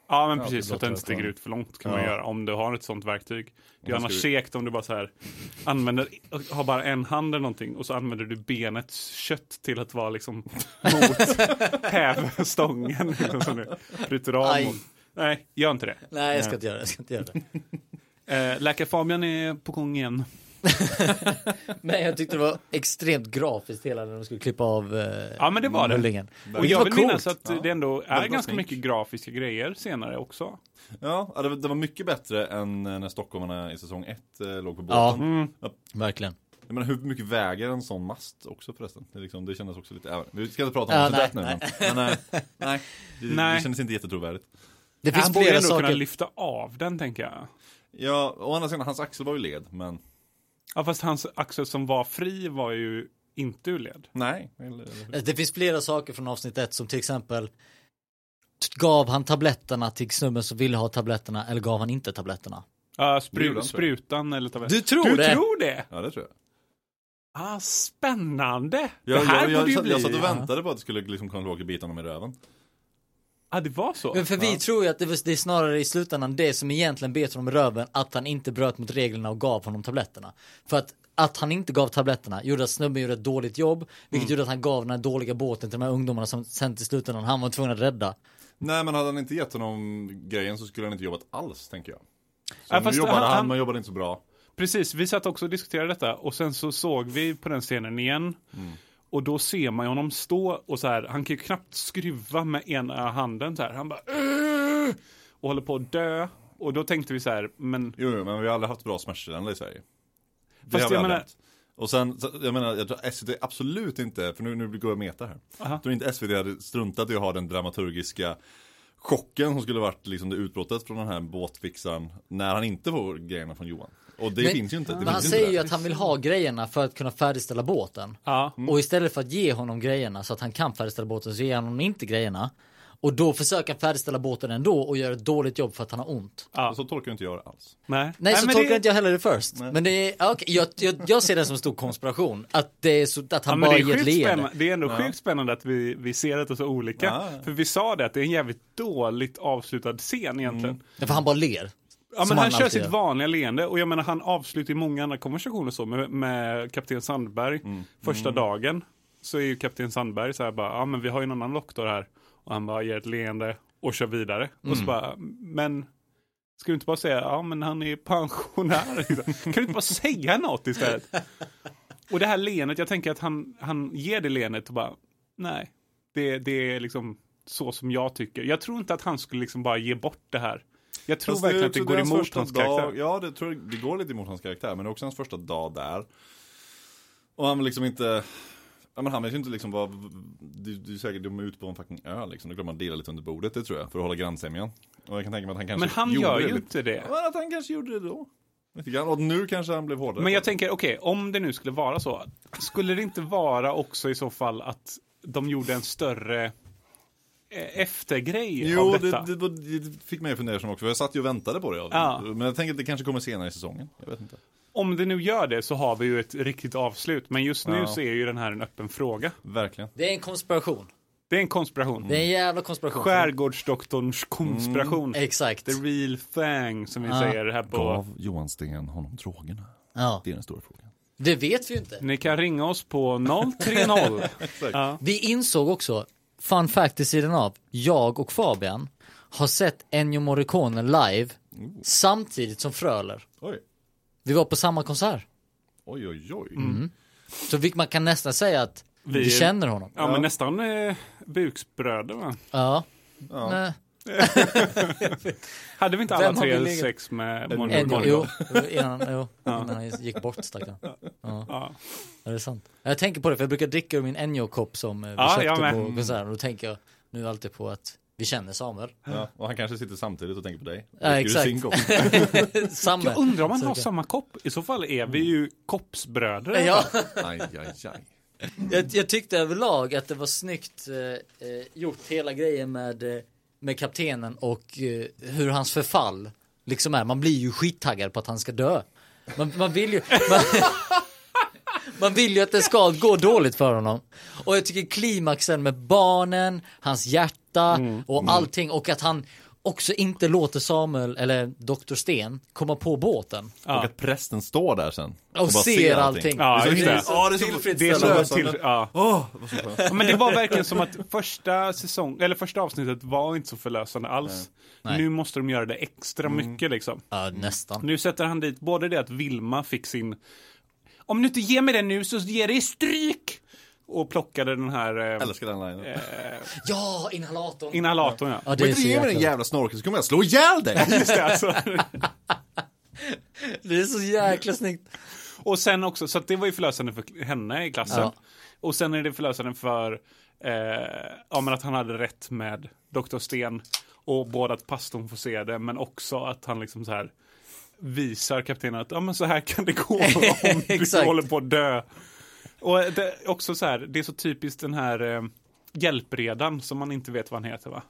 Speaker 2: Ja, men
Speaker 1: det
Speaker 2: precis. Så att
Speaker 1: låter
Speaker 2: den
Speaker 1: väl
Speaker 2: inte sticker
Speaker 1: skönt.
Speaker 2: ut för långt kan man
Speaker 3: Ja.
Speaker 2: göra om du har ett sånt verktyg. Det är
Speaker 3: då ska
Speaker 2: annars
Speaker 3: vi-
Speaker 2: segt om du bara så här använder, har bara en hand eller någonting och så använder du benets kött till att vara liksom
Speaker 1: (laughs)
Speaker 2: mot hävstången. Liksom, som du bryter av
Speaker 1: Aj.
Speaker 2: mot. Nej, gör inte det.
Speaker 1: Nej jag ska inte göra det, jag ska inte göra det.
Speaker 2: Eh, Läkare Fabian är på gång igen.
Speaker 1: (laughs) Men jag tyckte det var extremt grafiskt hela när de skulle klippa av eh,
Speaker 2: Ja, men det var det.
Speaker 1: mullingen.
Speaker 2: Och
Speaker 1: Det var
Speaker 2: jag vill minnas att det ändå är
Speaker 3: Väldigt
Speaker 2: ganska
Speaker 3: snyggt.
Speaker 2: mycket grafiska grejer senare också.
Speaker 3: Ja, ja, det,
Speaker 1: Mm.
Speaker 3: var- det var mycket bättre än eh, när stockholmarna i säsong ett eh, låg på båten.
Speaker 1: Ja, verkligen.
Speaker 3: Jag menar hur mycket väger en sån mast också förresten? Det, är liksom, det kändes också lite, äh, vi ska inte prata om
Speaker 1: Ja,
Speaker 3: det nu
Speaker 1: nej,
Speaker 3: men,
Speaker 1: (laughs)
Speaker 3: men äh, nej, det,
Speaker 2: Nej.
Speaker 3: det kändes inte jättetrovärdigt.
Speaker 1: Det
Speaker 2: Han
Speaker 1: finns
Speaker 2: borde
Speaker 1: flera
Speaker 2: ändå kunna
Speaker 1: saker.
Speaker 2: lyfta av den tänker jag.
Speaker 3: Ja, å andra sidan, hans axel var ju led, men
Speaker 2: Ja, fast hans axel som var fri var ju inte ur led.
Speaker 3: nej. Eller, eller.
Speaker 1: Eh, Det finns flera saker från avsnitt ett som till exempel gav han tabletterna till snubben som ville ha tabletterna eller gav han inte tabletterna?
Speaker 2: Ja,
Speaker 3: Det gjorde
Speaker 2: spru,
Speaker 3: han, tror
Speaker 2: sprutan eller tabell.
Speaker 1: Du tror
Speaker 2: du
Speaker 1: det?
Speaker 2: Tror det?
Speaker 3: Ja, det tror jag.
Speaker 2: Ah, spännande!
Speaker 3: Jag,
Speaker 2: det här
Speaker 3: jag, jag,
Speaker 2: borde ju
Speaker 3: jag,
Speaker 2: bli...
Speaker 3: jag satt och väntade på att det skulle liksom komma Roger bita honom i röven.
Speaker 2: Ja, det var så.
Speaker 1: Men för vi tror ju att det, var- det är snarare i slutändan det som egentligen bet honom i röven, att han inte bröt mot reglerna och gav honom tabletterna. För att, att han inte gav tabletterna gjorde att snubben gjorde ett dåligt jobb, vilket gjorde att han gav den här dåliga båten till de här ungdomarna som sen till slutändan han var tvungen att rädda.
Speaker 3: Nej, men hade han inte gett honom grejen så skulle han inte jobbat alls, tänker jag. Så
Speaker 2: Ja,
Speaker 3: nu
Speaker 2: fast
Speaker 3: jobbade han,
Speaker 2: han- han-
Speaker 3: men jobbade inte så bra.
Speaker 2: Precis, vi satt också och diskuterade detta och sen så såg vi på den scenen igen.
Speaker 3: Mm.
Speaker 2: Och då ser man ju honom stå och så här, han kan ju knappt skruva med ena handen så här. Han bara "Åh!" och håller på att dö. Och då tänkte vi så här, men
Speaker 3: Jo, jo, men vi har aldrig haft bra smärtstillande i Sverige. Det
Speaker 2: Fast
Speaker 3: har vi
Speaker 2: jag
Speaker 3: aldrig
Speaker 2: menar-
Speaker 3: haft. Och sen, så- jag menar, jag tror SVT absolut inte, för nu, nu går jag meta här. Jag tror inte SVT hade struntat i att ha den dramaturgiska chocken som skulle varit liksom det utbrottet från den här båtfixaren när han inte får grejerna från Johan. Och det
Speaker 1: Men-
Speaker 3: finns ju inte. Det
Speaker 1: Men han
Speaker 3: finns inte
Speaker 1: säger ju
Speaker 3: där.
Speaker 1: att han vill ha grejerna för att kunna färdigställa båten.
Speaker 2: ja.
Speaker 3: Mm.
Speaker 1: Och istället för att ge honom grejerna så att han kan färdigställa båten så ger han honom inte grejerna. Och då försöker han färdigställa båten ändå och gör ett dåligt jobb för att han har ont.
Speaker 2: ja.
Speaker 3: Så tolkar inte jag det alls.
Speaker 2: Nej,
Speaker 1: Nej, så
Speaker 2: men
Speaker 1: tolkar
Speaker 2: det,
Speaker 1: inte jag heller det först. Men det är, ja, okej, jag, jag, jag ser det som en stor konspiration. Att, det är så, att
Speaker 2: Ja,
Speaker 1: han
Speaker 2: men det,
Speaker 1: bara
Speaker 2: är
Speaker 1: ger ett
Speaker 2: sjukt
Speaker 1: leende.
Speaker 2: spännande. det är ändå sjukt spännande att vi, vi ser detta så olika.
Speaker 3: Ja.
Speaker 2: För vi sa det att det är en jävligt dåligt avslutad scen egentligen.
Speaker 1: Ja, För han bara ler.
Speaker 2: Mm. Ja,
Speaker 1: Som
Speaker 2: men han
Speaker 1: han
Speaker 2: kör
Speaker 1: alltid
Speaker 2: sitt
Speaker 1: gör.
Speaker 2: vanliga leende och jag menar han avslutar ju många andra konversationer så med, med kapten Sandberg första dagen. Så är ju kapten Sandberg så här bara, ja men vi har ju en annan doktor här. Och han bara ger ett leende och kör vidare. Och så bara, men ska du inte bara säga, ja men han är pensionär. (laughs) liksom? kan du inte bara säga något
Speaker 3: (laughs)
Speaker 2: istället? Och det här leendet, jag tänker att han, han ger det leendet och bara, nej, det, det är liksom så som jag tycker. Jag tror inte att han skulle liksom bara ge bort det här. Jag tror
Speaker 3: Fast
Speaker 2: verkligen
Speaker 3: är
Speaker 2: att det
Speaker 3: också
Speaker 2: går
Speaker 3: hans
Speaker 2: emot
Speaker 3: första
Speaker 2: hans
Speaker 3: dag,
Speaker 2: karaktär.
Speaker 3: Ja, det, tror jag, det går lite emot hans karaktär, men det är också hans första dag där. Och han vill liksom inte, ja men han vet ju inte liksom vad, du, du är säkert, de är ute på en fucking ö liksom, då glömmer man dela lite under bordet, det tror jag, för att hålla grannsämjan. Och jag kan tänka mig att han kanske
Speaker 2: Men han
Speaker 3: Alltså, gjorde
Speaker 2: gör
Speaker 3: det liksom.
Speaker 2: ju
Speaker 3: lite-
Speaker 2: inte det.
Speaker 3: Ja, men att han kanske gjorde det då. Lite grann, och nu kanske han blev hårdare.
Speaker 2: Men jag
Speaker 3: på det.
Speaker 2: tänker, okej, om det nu skulle vara så, skulle det inte vara också i så fall att de gjorde en större eh, eftergrej
Speaker 3: Jo,
Speaker 2: av detta?
Speaker 3: det, det, det, det fick mig att fundera som också, för jag satt ju och väntade på det.
Speaker 2: Ja.
Speaker 3: Men jag tänker att det kanske kommer senare i säsongen, jag vet inte.
Speaker 2: Om det nu gör det så har vi ju ett riktigt avslut, men just nu
Speaker 3: Ja.
Speaker 2: så är ju den här en öppen fråga.
Speaker 3: Verkligen.
Speaker 1: Det är en konspiration.
Speaker 2: Det är en konspiration.
Speaker 1: Det är en jävla konspiration. Mm,
Speaker 2: Skärgårdsdoktorns konspiration.
Speaker 1: Exakt.
Speaker 2: The real thing, som vi säger här på...
Speaker 3: Gav Johan Sten honom drogerna?
Speaker 1: Ja.
Speaker 3: Det är den stora frågan.
Speaker 1: Det vet vi ju inte.
Speaker 2: Ni kan ringa oss på
Speaker 1: (laughs)
Speaker 2: 030.
Speaker 1: Vi insåg också, fun fact i sidan av, jag och Fabian har sett Ennio Morricone live samtidigt som Fröler.
Speaker 3: Oj.
Speaker 1: Vi var på samma konsert.
Speaker 3: Oj, oj, oj.
Speaker 1: Mm. Så vi, man kan nästan säga att vi,
Speaker 2: Vi-
Speaker 1: känner honom.
Speaker 2: ja, men nästan eh, buksbröder, va?
Speaker 1: Ja. Nej.
Speaker 2: Hade vi inte
Speaker 1: Vem
Speaker 2: alla
Speaker 1: har vi
Speaker 2: tre
Speaker 1: legat-
Speaker 2: sex med
Speaker 3: Ennio,
Speaker 1: Ennio,
Speaker 2: Morgan?
Speaker 1: jo, innan, jo, innan han gick bort stackarn. Ja. Ja. Är det sant? Jag tänker på det, för jag brukar dricka ur min Ennio-kopp som eh, vi
Speaker 2: Ja, jag
Speaker 1: köpte
Speaker 2: med.
Speaker 1: på konserten. Och då tänker jag nu alltid på att vi känner
Speaker 2: (laughs)
Speaker 1: Samuel.
Speaker 3: Ja, och han kanske sitter samtidigt och tänker på dig.
Speaker 1: Ja,
Speaker 3: Dricker du
Speaker 1: exakt.
Speaker 3: sin kopp?
Speaker 1: (laughs) Samuel.
Speaker 2: Jag undrar om man har
Speaker 1: Så-
Speaker 2: samma kopp. I så fall är vi ju koppsbröder.
Speaker 1: Mm. Ja.
Speaker 3: Aj, aj, aj.
Speaker 1: Jag, jag tyckte överlag att det var snyggt eh, eh, gjort hela grejen med, eh, med kaptenen och eh, hur hans förfall liksom är. Man blir ju skittaggad på att han ska dö. Man, man vill ju... Man, (laughs) man vill ju att det ska gå dåligt för honom. Och jag tycker klimaxen med barnen, hans hjärta
Speaker 3: Mm,
Speaker 1: och allting och att han också inte låter Samuel, eller Dr. Sten, komma på båten.
Speaker 3: Och att prästen står där sen.
Speaker 1: Och, ser allting.
Speaker 2: Ja, just det.
Speaker 3: Ja, det är så-
Speaker 2: Det är
Speaker 1: tillfredsställande.
Speaker 2: som en
Speaker 3: Lösande.
Speaker 2: till, ja.
Speaker 3: Åh, vad så skönt.
Speaker 2: Ja, Men det var verkligen som att första säsong, eller första avsnittet var inte så förlösande alls.
Speaker 1: Nej.
Speaker 2: Nu måste de göra det extra
Speaker 3: Mm.
Speaker 2: mycket liksom.
Speaker 1: Ja, nästan.
Speaker 2: Nu sätter han dit både det att Vilma fick sin, om du inte ger mig den nu så ger det stryk! Och plockade den här eh,
Speaker 3: Jag älskar den linjen. Om
Speaker 1: Ja, inhalatorn.
Speaker 2: inhalatorn ja.
Speaker 1: Ja,
Speaker 3: du
Speaker 1: det är
Speaker 3: inte
Speaker 1: så
Speaker 3: ger mig
Speaker 1: jäkla
Speaker 3: den jävla snorkeln så kommer jag
Speaker 1: (laughs)
Speaker 3: slå ihjäl dig!
Speaker 2: Just det, alltså.
Speaker 1: (laughs) Det är så jäkla snyggt.
Speaker 2: Och sen också, så att det var ju förlösande för henne i klassen.
Speaker 1: Ja.
Speaker 2: Och sen är det förlösande för eh, ja, men att han hade rätt med Dr. Sten. Och både att pastorn får se det, men också att han liksom så här visar kaptenen att ja, men så här kan det
Speaker 1: (laughs)
Speaker 2: gå om du
Speaker 1: Exakt.
Speaker 2: håller på att dö. Och det, är också så här, det är så typiskt den här eh, hjälpredan som man inte vet vad han heter va?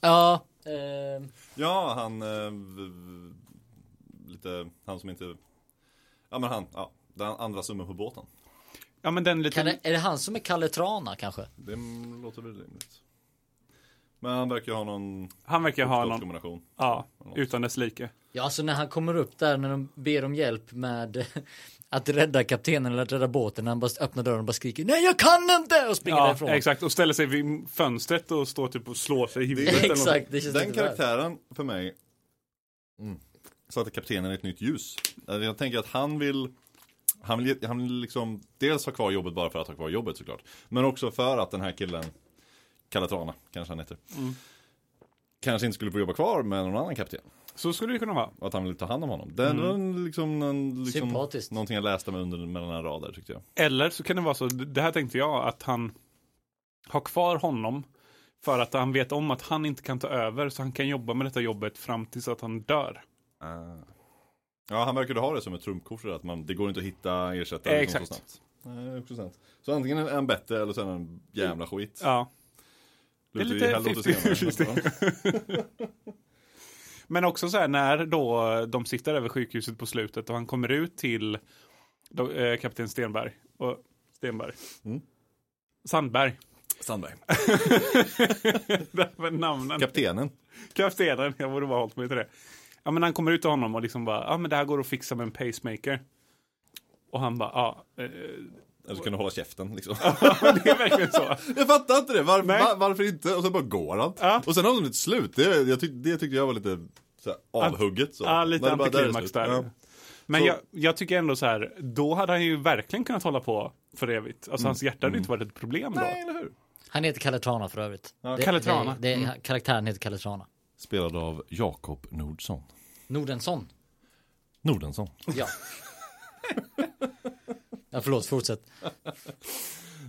Speaker 1: Ja. Eh,
Speaker 3: Ja, han... eh, v- v- Lite, han som inte... Ja men han, ja. Den andra summan på båten.
Speaker 2: Ja men den lite...
Speaker 1: kan det, är det han som är Kalle Trana kanske?
Speaker 3: Det låter väl rimligt. Men han verkar ju ha någon
Speaker 2: Han verkar ha någon,
Speaker 3: kombination.
Speaker 2: ja, utan dess like.
Speaker 1: Ja, alltså när han kommer upp där när de ber om hjälp med (laughs) att rädda kaptenen eller att rädda båten. När han bara öppnar dörren och bara skriker Nej jag kan inte! Och springer
Speaker 2: Ja,
Speaker 1: därifrån. (laughs)
Speaker 2: exakt. Och ställer sig vid fönstret och står typ och slår sig
Speaker 1: (laughs)
Speaker 2: i huvudet. eller något.
Speaker 1: Exakt, det känns
Speaker 3: Den
Speaker 1: lite väl.
Speaker 3: karaktären för mig mm, satte kaptenen i ett nytt ljus. Alltså, Jag tänker att han vill han vill, ge- han vill liksom dels ha kvar jobbet bara för att ha kvar jobbet såklart. Men också för att den här killen, Kalle Trana kanske han heter. Kanske inte skulle få jobba kvar med någon annan kapten.
Speaker 2: Så skulle det kunna vara.
Speaker 3: Och att han ville ta hand om honom. Det var en- liksom, en, liksom
Speaker 1: Sympatiskt.
Speaker 3: någonting jag läste med under, mellan här rader tyckte jag.
Speaker 2: Eller så kan det vara så, det här tänkte jag, att han har kvar honom för att han vet om att han inte kan ta över så han kan jobba med detta jobbet fram tills att han dör.
Speaker 3: Ja, han verkade ha det som ett trumfkort, att man, det går inte att hitta ersättare
Speaker 2: Eh,
Speaker 3: liksom, så
Speaker 2: exakt.
Speaker 3: snabbt. Nej, det är också sant. Så antingen är han bättre eller så är han en jävla skit.
Speaker 2: Ja. Det är
Speaker 3: Låter ju
Speaker 2: lite
Speaker 3: hellre åt
Speaker 2: 50-50.
Speaker 3: senare, nästan.
Speaker 2: Men också så här när då de sitter över sjukhuset på slutet och han kommer ut till då, eh, kapten Stenberg. Och Stenberg.
Speaker 3: Mm.
Speaker 2: Sandberg. (laughs)
Speaker 3: Sandberg.
Speaker 2: Det var namnen.
Speaker 3: Kaptenen.
Speaker 2: Kaptenen, jag borde bara hållit mig till det. Ja men han kommer ut till honom och liksom bara, ja men det här går att fixa med en pacemaker. Och han bara, ja. eh, (laughs)
Speaker 3: Eller så kan du hålla käften liksom.
Speaker 2: Det är verkligen så.
Speaker 3: (laughs) Jag fattar inte det, Var,
Speaker 2: Nej.
Speaker 3: va- varför inte? Och sen bara går han.
Speaker 2: Ja.
Speaker 3: Och sen har de ett slut, det, jag tyck, det tyckte jag var lite så här, avhugget. Så.
Speaker 2: Ja, lite
Speaker 3: När det bara, är det
Speaker 2: antiklimax
Speaker 3: slut.
Speaker 2: där.
Speaker 3: Ja.
Speaker 2: Men
Speaker 3: Så-
Speaker 2: jag, jag tycker ändå så här, då hade han ju verkligen kunnat hålla på för evigt. Alltså hans hjärta hade inte varit ett problem då.
Speaker 3: Mm. Nej, eller hur?
Speaker 1: Han heter Kalle Trana för övrigt. Det-
Speaker 2: Kalle
Speaker 1: det-
Speaker 2: Trana. Mm.
Speaker 1: Det, Karaktären heter Kalle Trana.
Speaker 3: Spelad av Jakob Nordsson.
Speaker 1: Nordensson.
Speaker 3: Nordensson.
Speaker 2: (laughs)
Speaker 1: Ja. ja, förlåt, fortsätt.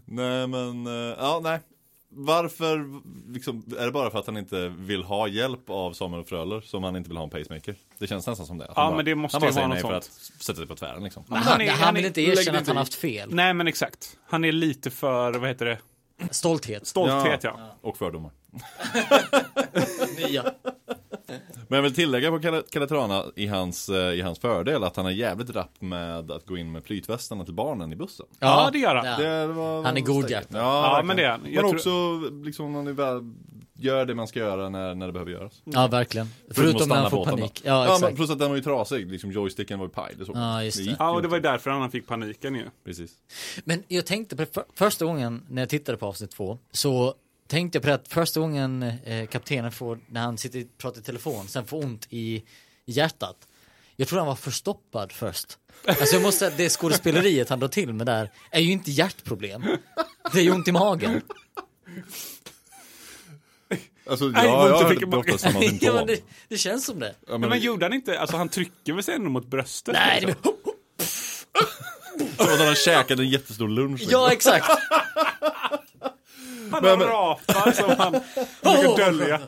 Speaker 3: Nej men, eh, ja nej. Varför, liksom, är det bara för att han inte vill ha hjälp av Samuel Fröler som han inte vill ha en pacemaker? Det känns nästan som det. Att han
Speaker 2: Ja, men det måste
Speaker 3: han bara
Speaker 2: ju
Speaker 3: säger
Speaker 2: vara
Speaker 3: nej för
Speaker 2: något
Speaker 3: att sätta sig på tvären liksom.
Speaker 1: Han,
Speaker 2: han
Speaker 1: han,
Speaker 2: är- han
Speaker 1: vill
Speaker 2: är-
Speaker 1: inte
Speaker 2: lägg dig
Speaker 1: erkänna att
Speaker 2: inte i.
Speaker 1: han haft fel.
Speaker 2: Nej men exakt. Han är lite för, vad heter det,
Speaker 1: Stolthet.
Speaker 2: stolthet ja.
Speaker 3: Och fördomar.
Speaker 1: Ja.
Speaker 3: Men jag vill tillägga på Kalle- Kalle Trana i hans, eh, i hans fördel att han är jävligt rapp med att gå in med flytvästarna till barnen i bussen.
Speaker 2: Ja, det gör han.
Speaker 1: Ja.
Speaker 3: Det var,
Speaker 1: Han är godhjärtad.
Speaker 3: Ja, verkligen.
Speaker 2: men det är han. Jag
Speaker 3: Men
Speaker 2: tror-
Speaker 3: också liksom han är väl, gör det man ska göra när, när det behöver göras.
Speaker 1: Ja, verkligen.
Speaker 3: att
Speaker 1: Förutom när
Speaker 3: stanna
Speaker 1: han får
Speaker 3: båten då.
Speaker 1: panik. Ja,
Speaker 3: men
Speaker 1: exakt.
Speaker 3: plus att den var ju trasig, liksom joysticken var ju paj. Det såg man.
Speaker 1: Ja, just det.
Speaker 3: gick
Speaker 2: Ja,
Speaker 3: ju
Speaker 2: och det
Speaker 3: inte.
Speaker 2: var ju därför han fick paniken ju.
Speaker 3: Precis.
Speaker 1: Men jag tänkte på det, för, första gången när jag tittade på avsnitt två så tänkte jag på det att första gången eh, kaptenen får, när han sitter och pratar i telefon, sen får ont i hjärtat. Jag tror han var förstoppad först. Alltså jag måste säga att det skådespeleriet han drar till med där är ju inte hjärtproblem. Det är ju ont i magen.
Speaker 3: Alltså
Speaker 2: Nej,
Speaker 3: ja,
Speaker 2: vad
Speaker 3: jag
Speaker 2: inte
Speaker 3: hörde
Speaker 2: fick
Speaker 3: det
Speaker 2: man-
Speaker 3: ofta
Speaker 1: (laughs)
Speaker 3: samma
Speaker 1: ja, men
Speaker 3: symptom.
Speaker 1: det, det känns som det.
Speaker 3: Ja,
Speaker 2: Men,
Speaker 3: men,
Speaker 2: gjorde han inte, alltså han trycker väl sig ändå mot bröstet?
Speaker 1: Nej, det
Speaker 2: liksom.
Speaker 1: blir...
Speaker 3: Som att han har käkat en jättestor lunch. liksom.
Speaker 1: Ja, exakt.
Speaker 2: Han
Speaker 3: Men-
Speaker 2: har rapar som
Speaker 3: (laughs)
Speaker 2: han försöker dölja.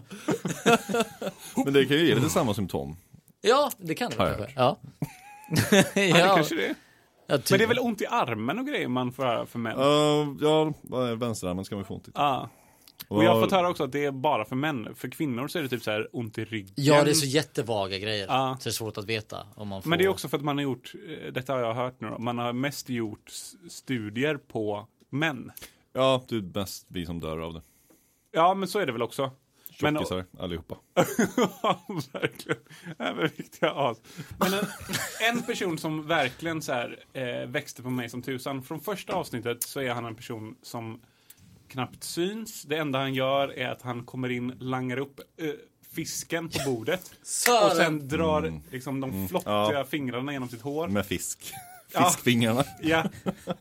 Speaker 3: Men det kan ju ge lite samma symptom.
Speaker 1: Ja, det kan det
Speaker 3: Har jag
Speaker 1: kanske. Ja. (laughs)
Speaker 2: Ja, det
Speaker 1: ja,
Speaker 2: kanske det är.
Speaker 1: ja,
Speaker 2: Men det är väl ont i armen och grejer man får höra för män?
Speaker 3: Uh, ja, vänsterarmen ska man ju få ont i.
Speaker 2: Ja. Och jag har fått höra också att det är bara för män. För kvinnor så är det typ så här ont i ryggen.
Speaker 1: Ja, det är så jättevaga grejer.
Speaker 2: Ja.
Speaker 1: Så det är svårt att veta om man får...
Speaker 2: Men det är också för att man har gjort, eh, detta har jag hört nu då, man har mest gjort s- studier på män.
Speaker 3: Ja, det är bäst vi som dör av det.
Speaker 2: Ja, men så är det väl också. Men,
Speaker 3: Tjockisar allihopa.
Speaker 2: (laughs) Ja, verkligen. Överviktiga as. Men en, en person som verkligen så här, eh, växte på mig som tusan. Från första avsnittet så är han en person som knappt syns. Det enda han gör är att han kommer in, langar upp eh, fisken på bordet. Och
Speaker 1: Sören!
Speaker 2: sen drar liksom de flottiga
Speaker 3: Ja.
Speaker 2: fingrarna genom sitt hår.
Speaker 3: Med fisk. Fiskfingrarna.
Speaker 2: Ja,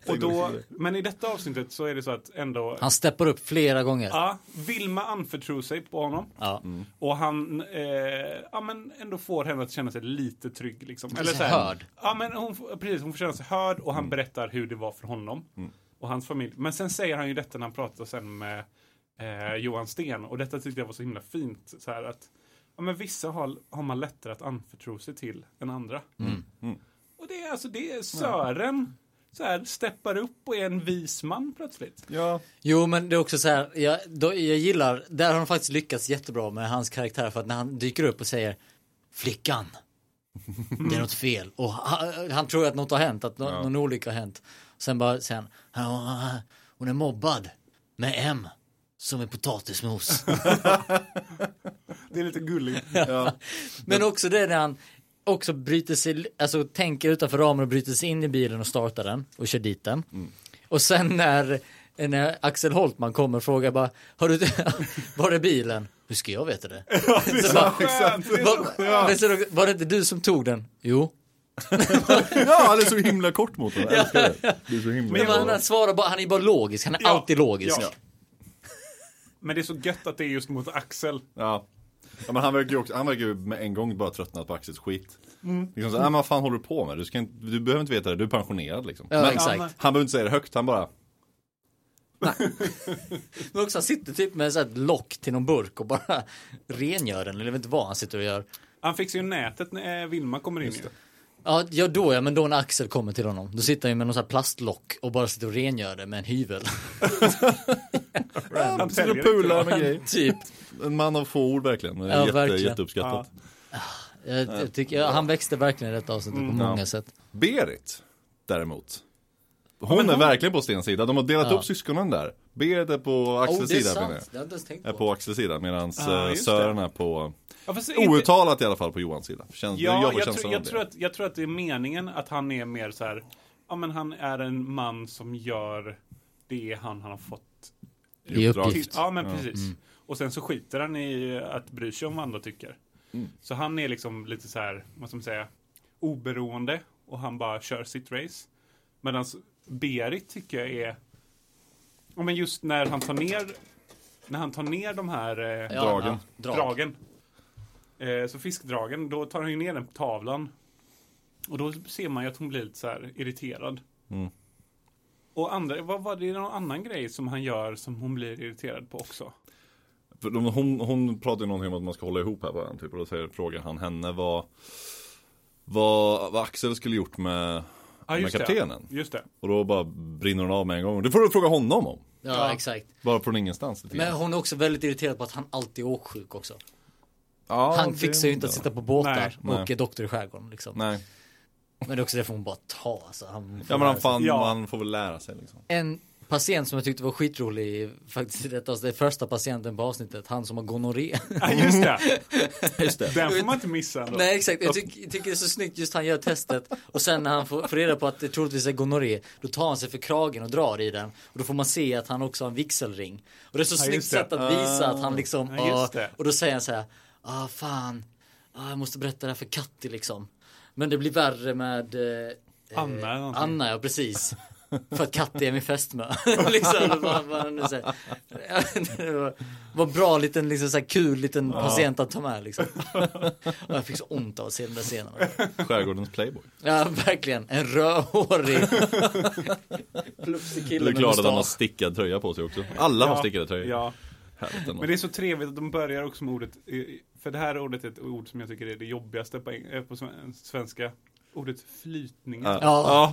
Speaker 2: och då, men i detta avsnittet så är det så att ändå
Speaker 1: Han steppar upp flera gånger.
Speaker 2: Ja, Vilma anförtror sig på honom.
Speaker 1: Ja.
Speaker 2: Och han eh, ja, men ändå får henne att känna sig lite trygg. Liksom. Eller
Speaker 1: sig
Speaker 2: så här,
Speaker 1: hörd.
Speaker 2: Ja, men hon, får- precis, hon får känna sig hörd och han berättar hur det var för honom. Och hans familj. Men sen säger han ju detta när han pratar sen med eh, Johan Sten. Och detta tyckte jag var så himla fint. Så här, att, ja, men vissa har, har man lättare att anförtro sig till än andra. Och det är alltså det är Sören. Så här, steppar upp och är en vis man plötsligt.
Speaker 3: Ja.
Speaker 1: Jo, men det är också så här, jag, då, jag gillar, där har de faktiskt lyckats jättebra med hans karaktär för att när han dyker upp och säger flickan, det är något fel och han, han tror att något har hänt, att nå- någon olycka har hänt. Sen bara, sen, "Ja, hon är mobbad med M som är potatismos.
Speaker 2: Det är lite gulligt.
Speaker 1: Men också det när han också bryter sig, alltså tänker utanför ramen och bryter sig in i bilen och startar den och kör dit den. Och sen när, när Axel Holtman kommer och frågar bara, har du, (laughs) var är bilen? Hur ska jag veta (laughs) det? så bara, (laughs)
Speaker 2: Skönt, det är så
Speaker 1: var, men sen också, var det inte du som tog den? Jo.
Speaker 3: ja, det är så himla kort mot honom. Jag älskar det. Det är så himla
Speaker 1: Men han,
Speaker 3: bra.
Speaker 1: han svarar bara, han är bara logisk, han är
Speaker 2: Ja,
Speaker 1: alltid logisk.
Speaker 2: ja. Men det är så gött att det är just mot Axel.
Speaker 3: Ja. ja men han verkar ju också, han verkar ju med en gång bara tröttnat på Axels skit. Liksom så, nej men vad fan håller du på med? Du, ska inte, du behöver inte veta det, du är pensionerad liksom.
Speaker 1: Ja,
Speaker 3: men
Speaker 1: exakt.
Speaker 2: Ja, men-
Speaker 3: han behöver inte säga det högt, han bara
Speaker 1: Men också han sitter typ med så här ett lock till någon burk och bara (laughs) rengör den, eller jag vet inte vad han sitter och gör.
Speaker 2: Han fixar ju nätet när eh, Vilma kommer in. ju.
Speaker 1: Ja, ja då ja, men då när Axel kommer till honom, då sitter han ju med någon sån här plastlock och bara sitter och rengör det med en hyvel.
Speaker 3: Han sitter och
Speaker 2: täljer inte,
Speaker 3: "Ah,
Speaker 2: va?
Speaker 3: pular med grejer.
Speaker 1: (laughs) typ.
Speaker 3: En man av få ord verkligen. Det är
Speaker 1: Ja,
Speaker 3: jätte,
Speaker 1: verkligen.
Speaker 3: Jätteuppskattat.
Speaker 1: Jag, jag tycker, jag, han växte verkligen i detta avsnittet
Speaker 3: Mm.
Speaker 1: på många sätt.
Speaker 3: Berit däremot. Hon är verkligen på Stens sida. De har delat upp syskonen där. Berit är på Axels
Speaker 1: Oh, det är
Speaker 3: sida. menar
Speaker 1: sant,
Speaker 3: jag.
Speaker 1: det har jag inte ens tänkt
Speaker 3: Är
Speaker 1: på.
Speaker 3: på Axels sida medan
Speaker 2: Ah,
Speaker 3: eh,
Speaker 2: just
Speaker 3: Sören
Speaker 2: det.
Speaker 3: är på
Speaker 2: Ja, fast inte-
Speaker 3: Outtalat i alla fall på Johans sida. Känns, jag
Speaker 2: Ja,
Speaker 3: får
Speaker 2: jag,
Speaker 3: känslan
Speaker 2: tror,
Speaker 3: av
Speaker 2: jag,
Speaker 3: det.
Speaker 2: tror att, jag tror att det är meningen att han är mer så här. Ja, men han är en man som gör det han, han har fått.
Speaker 1: I
Speaker 2: Till,
Speaker 1: uppgift.
Speaker 2: ja, men precis.
Speaker 3: mm.
Speaker 2: Och sen så skiter han i att bry sig om vad andra tycker.
Speaker 3: Mm.
Speaker 2: Så han är liksom lite så här, vad ska man säga, oberoende och han bara kör sitt race. Medan Berit tycker jag är, ja, men just när han tar ner, när han tar ner de här eh,
Speaker 1: Ja,
Speaker 3: Dragen.
Speaker 1: ja, drag.
Speaker 2: dragen. Eh, så fiskdragen, då tar han ju ner den på tavlan. Och då ser man ju att hon blir lite så här irriterad.
Speaker 3: Mm.
Speaker 2: Och andra, vad var det någon annan grej som han gör som hon blir irriterad på också?
Speaker 3: För de- Hon, hon pratar ju någonting om att man ska hålla ihop här bara, typ, och då säger, frågar han henne vad, vad, vad Axel skulle gjort med,
Speaker 2: Ja,
Speaker 3: med kaptenen.
Speaker 2: Det. Just det.
Speaker 3: Och då bara brinner hon av med en gång. Det får du fråga honom om.
Speaker 1: Ja,
Speaker 2: Ja.
Speaker 1: exakt.
Speaker 3: Bara från ingenstans. lite
Speaker 1: Men
Speaker 3: grann.
Speaker 1: hon är också väldigt irriterad på att han alltid är åksjuk också.
Speaker 3: Ja,
Speaker 1: Han
Speaker 3: det-
Speaker 1: fixar ju inte att sitta på båtar
Speaker 2: Nej,
Speaker 1: och
Speaker 3: nej.
Speaker 1: är doktor i skärgården liksom.
Speaker 3: Nej.
Speaker 1: Men det är också därför hon bara tar alltså. Han får
Speaker 3: Ja men han,
Speaker 1: lära sig.
Speaker 3: fan,
Speaker 2: Ja.
Speaker 3: han får väl lära sig (laughs) liksom.
Speaker 1: En patient som jag tyckte var skitrolig i- faktiskt i detta avsnitt, det är första patienten på avsnittet, han som har gonorré.
Speaker 2: Ja, just det.
Speaker 3: (laughs) Just det.
Speaker 2: Den får man inte missa ändå.
Speaker 1: Nej exakt, jag tyck- tycker det är så snyggt just han gör testet och sen när han får, får reda på att det troligtvis är gonorré då tar han sig för kragen och drar i den och då får man se att han också har en vigselring. Och det är så
Speaker 2: Ja,
Speaker 1: snyggt
Speaker 2: just det.
Speaker 1: sätt att visa att han liksom,
Speaker 2: Ja, just
Speaker 1: ah,
Speaker 2: det.
Speaker 1: och då säger han så här, ah fan, ah, jag måste berätta det här för Katti liksom. Men det blir värre med eh,
Speaker 2: Anna eller
Speaker 1: eh,
Speaker 2: någonting.
Speaker 1: Anna ja precis. För att Katti är min fästmö. (laughs) liksom, vad, vad han nu säger. det var, var bra liten, liksom, så här, kul liten patient att ta med liksom. Och jag fick så ont av att se den där scenen.
Speaker 3: Skärgårdens playboy.
Speaker 1: Ja, verkligen. En rödhårig plufsig
Speaker 3: Du
Speaker 1: kille
Speaker 3: är
Speaker 1: med
Speaker 3: glad att han har
Speaker 1: mustasch.
Speaker 3: stickad tröja på sig också. Alla har stickade tröjor. alltså.
Speaker 2: Ja.
Speaker 3: Härligt ändå.
Speaker 2: Men det är så trevligt att de börjar också med ordet, eh, för det här ordet är ett ord som jag tycker är det jobbigaste på, eng- eh, på sven- svenska. Ordet flytningar.
Speaker 3: Ja.
Speaker 1: Ja,
Speaker 3: Ja.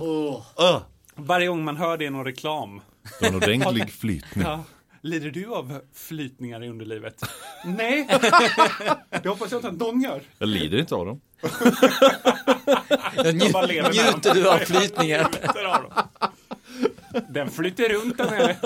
Speaker 1: åh.
Speaker 3: Ah,
Speaker 2: Varje gång man hör det i någon reklam.
Speaker 3: det var en ordentlig flytning.
Speaker 2: Ja. (laughs) Lider du av flytningar i (laughs) underlivet? Nej! Det hoppas jag inte att de gör.
Speaker 3: Jag lider inte av dem.
Speaker 1: Jag nju-
Speaker 2: bara lever med
Speaker 1: njuter du av flytningen?
Speaker 2: Där har de. Den flyter runt den här.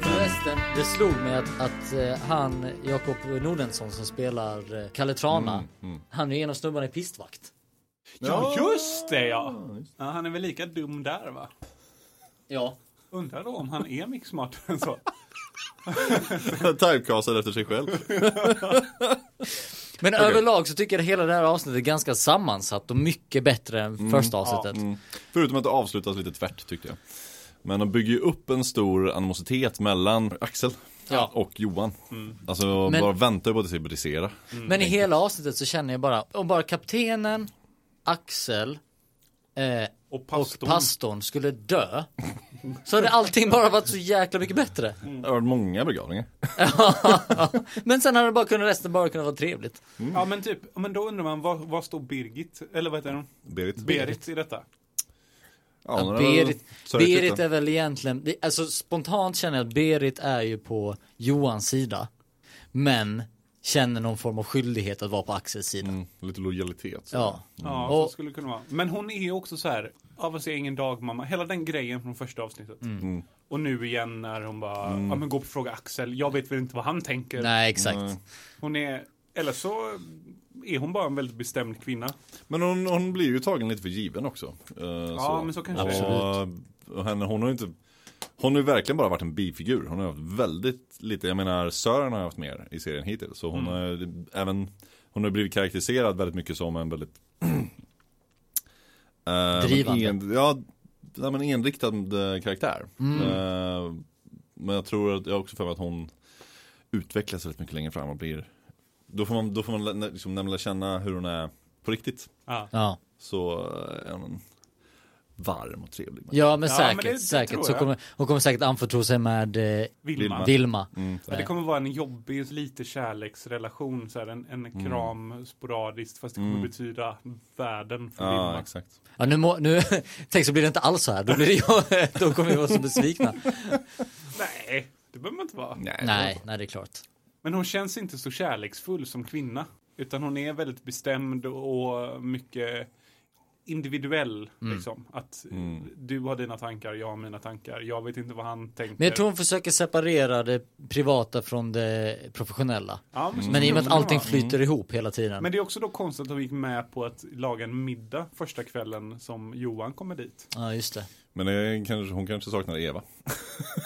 Speaker 1: Förresten, det slog mig att, att eh, han,
Speaker 2: Mm,
Speaker 1: Jakob Nordensson som spelar eh, Kalle Trana, han är en av snubbarna i Pistvakt.
Speaker 2: Ja,
Speaker 3: (laughs)
Speaker 2: just det ja. ja! Han är väl lika dum där va?
Speaker 1: Ja.
Speaker 2: Undrar då om han är mycket smartare än så.
Speaker 3: Typecastad efter sig själv.
Speaker 1: Men överlag så tycker jag hela det här avsnittet är ganska sammansatt och mycket bättre än
Speaker 3: Mm.
Speaker 1: första avsnittet.
Speaker 3: Förutom att det avslutas lite tvärt tyckte jag. Men de bygger ju upp en stor animositet mellan Axel
Speaker 1: Ja.
Speaker 3: och Johan. Alltså
Speaker 1: Men-
Speaker 3: bara väntar på att det ska brisera.
Speaker 1: Men i hela avsnittet så känner jag bara, om bara kaptenen, Axel eh,
Speaker 2: Och
Speaker 1: och
Speaker 2: pastorn.
Speaker 1: pastorn skulle dö så hade allting bara varit så jäkla mycket bättre.
Speaker 3: Det har varit många begravningar.
Speaker 1: Men sen hade det bara kunnat, resten bara kunnat vara trevligt.
Speaker 2: Ja men typ, ja, men då undrar man vad, vad står Birgit, eller vad heter hon?
Speaker 3: Berit.
Speaker 2: Berit i detta?
Speaker 3: Ja, hon har väl
Speaker 1: Berit,
Speaker 3: sörjt lite.
Speaker 1: Berit är väl egentligen, det- alltså spontant känner jag att Berit är ju på Johans sida. Men känner någon form av skyldighet att vara på Axels sida.
Speaker 3: Mm, lite lojalitet. så.
Speaker 1: Ja.
Speaker 2: Ja,
Speaker 1: Och-
Speaker 2: så skulle det kunna vara. Men hon är ju också så här, ja vad säger ingen dagmamma, hela den grejen från första avsnittet. Och nu igen när hon bara, ja men gå på fråga Axel, jag vet väl inte vad han tänker.
Speaker 1: Nej exakt.
Speaker 3: Mm.
Speaker 2: Hon är, eller så är hon bara en väldigt bestämd kvinna.
Speaker 3: Men hon, hon blir ju tagen lite för given också. Eh,
Speaker 2: Ja, men så kanske det
Speaker 1: är.
Speaker 3: och, och henne, hon har ju inte hon har ju verkligen bara varit en bifigur. Hon har haft väldigt lite, jag menar Sören har haft mer i serien hittills. Så
Speaker 2: Mm.
Speaker 3: hon har ju även, hon har blivit karaktäriserad väldigt mycket som en väldigt (clears throat) eh,
Speaker 1: Drivande.
Speaker 3: En, ja, nej, men enriktad eh, karaktär. Eh, men jag tror att, jag har också för mig att hon utvecklas väldigt mycket längre fram och blir, då får man, då får man lä- liksom, nämligen känna hur hon är på riktigt
Speaker 2: Ja.
Speaker 1: Ja.
Speaker 3: så eh, är hon en varm och trevlig människa.
Speaker 1: Ja men
Speaker 2: Ja,
Speaker 1: säkert,
Speaker 2: men det- det
Speaker 1: säkert.
Speaker 2: tror
Speaker 1: Så
Speaker 2: jag.
Speaker 1: kommer, hon kommer säkert anförtro sig med eh,
Speaker 2: Vilma.
Speaker 3: Vilma.
Speaker 1: Vilma.
Speaker 2: Ja, Mm. det kommer vara en jobbig, lite kärleksrelation, så här, en, en kram sporadiskt, fast det kommer betyda världen för
Speaker 3: Ja,
Speaker 2: Vilma.
Speaker 3: exakt.
Speaker 1: Ja, nu, må, nu (laughs) tänk så blir det inte alls så här. Då, blir det jag, (laughs) då kommer vi vara så
Speaker 2: (laughs)
Speaker 1: besvikna.
Speaker 2: Nej, det behöver man inte vara.
Speaker 1: nej, nej det är klart.
Speaker 2: Men hon känns inte så kärleksfull som kvinna. Utan hon är väldigt bestämd och mycket individuell.
Speaker 3: Mm.
Speaker 2: Liksom. Att eh, du har dina tankar, jag har mina tankar. Jag vet inte vad han tänker.
Speaker 1: Men jag tror hon försöker separera det privata från det professionella.
Speaker 2: Mm. ja, men, så
Speaker 1: Men i och med att
Speaker 2: tror jag
Speaker 1: allting
Speaker 2: det var.
Speaker 1: flyter ihop hela tiden.
Speaker 2: Men det är också då konstigt att de gick med på att laga en middag första kvällen som Johan kommer dit.
Speaker 1: Ja, just det.
Speaker 3: Men det är, kanske, hon kanske saknar Eva.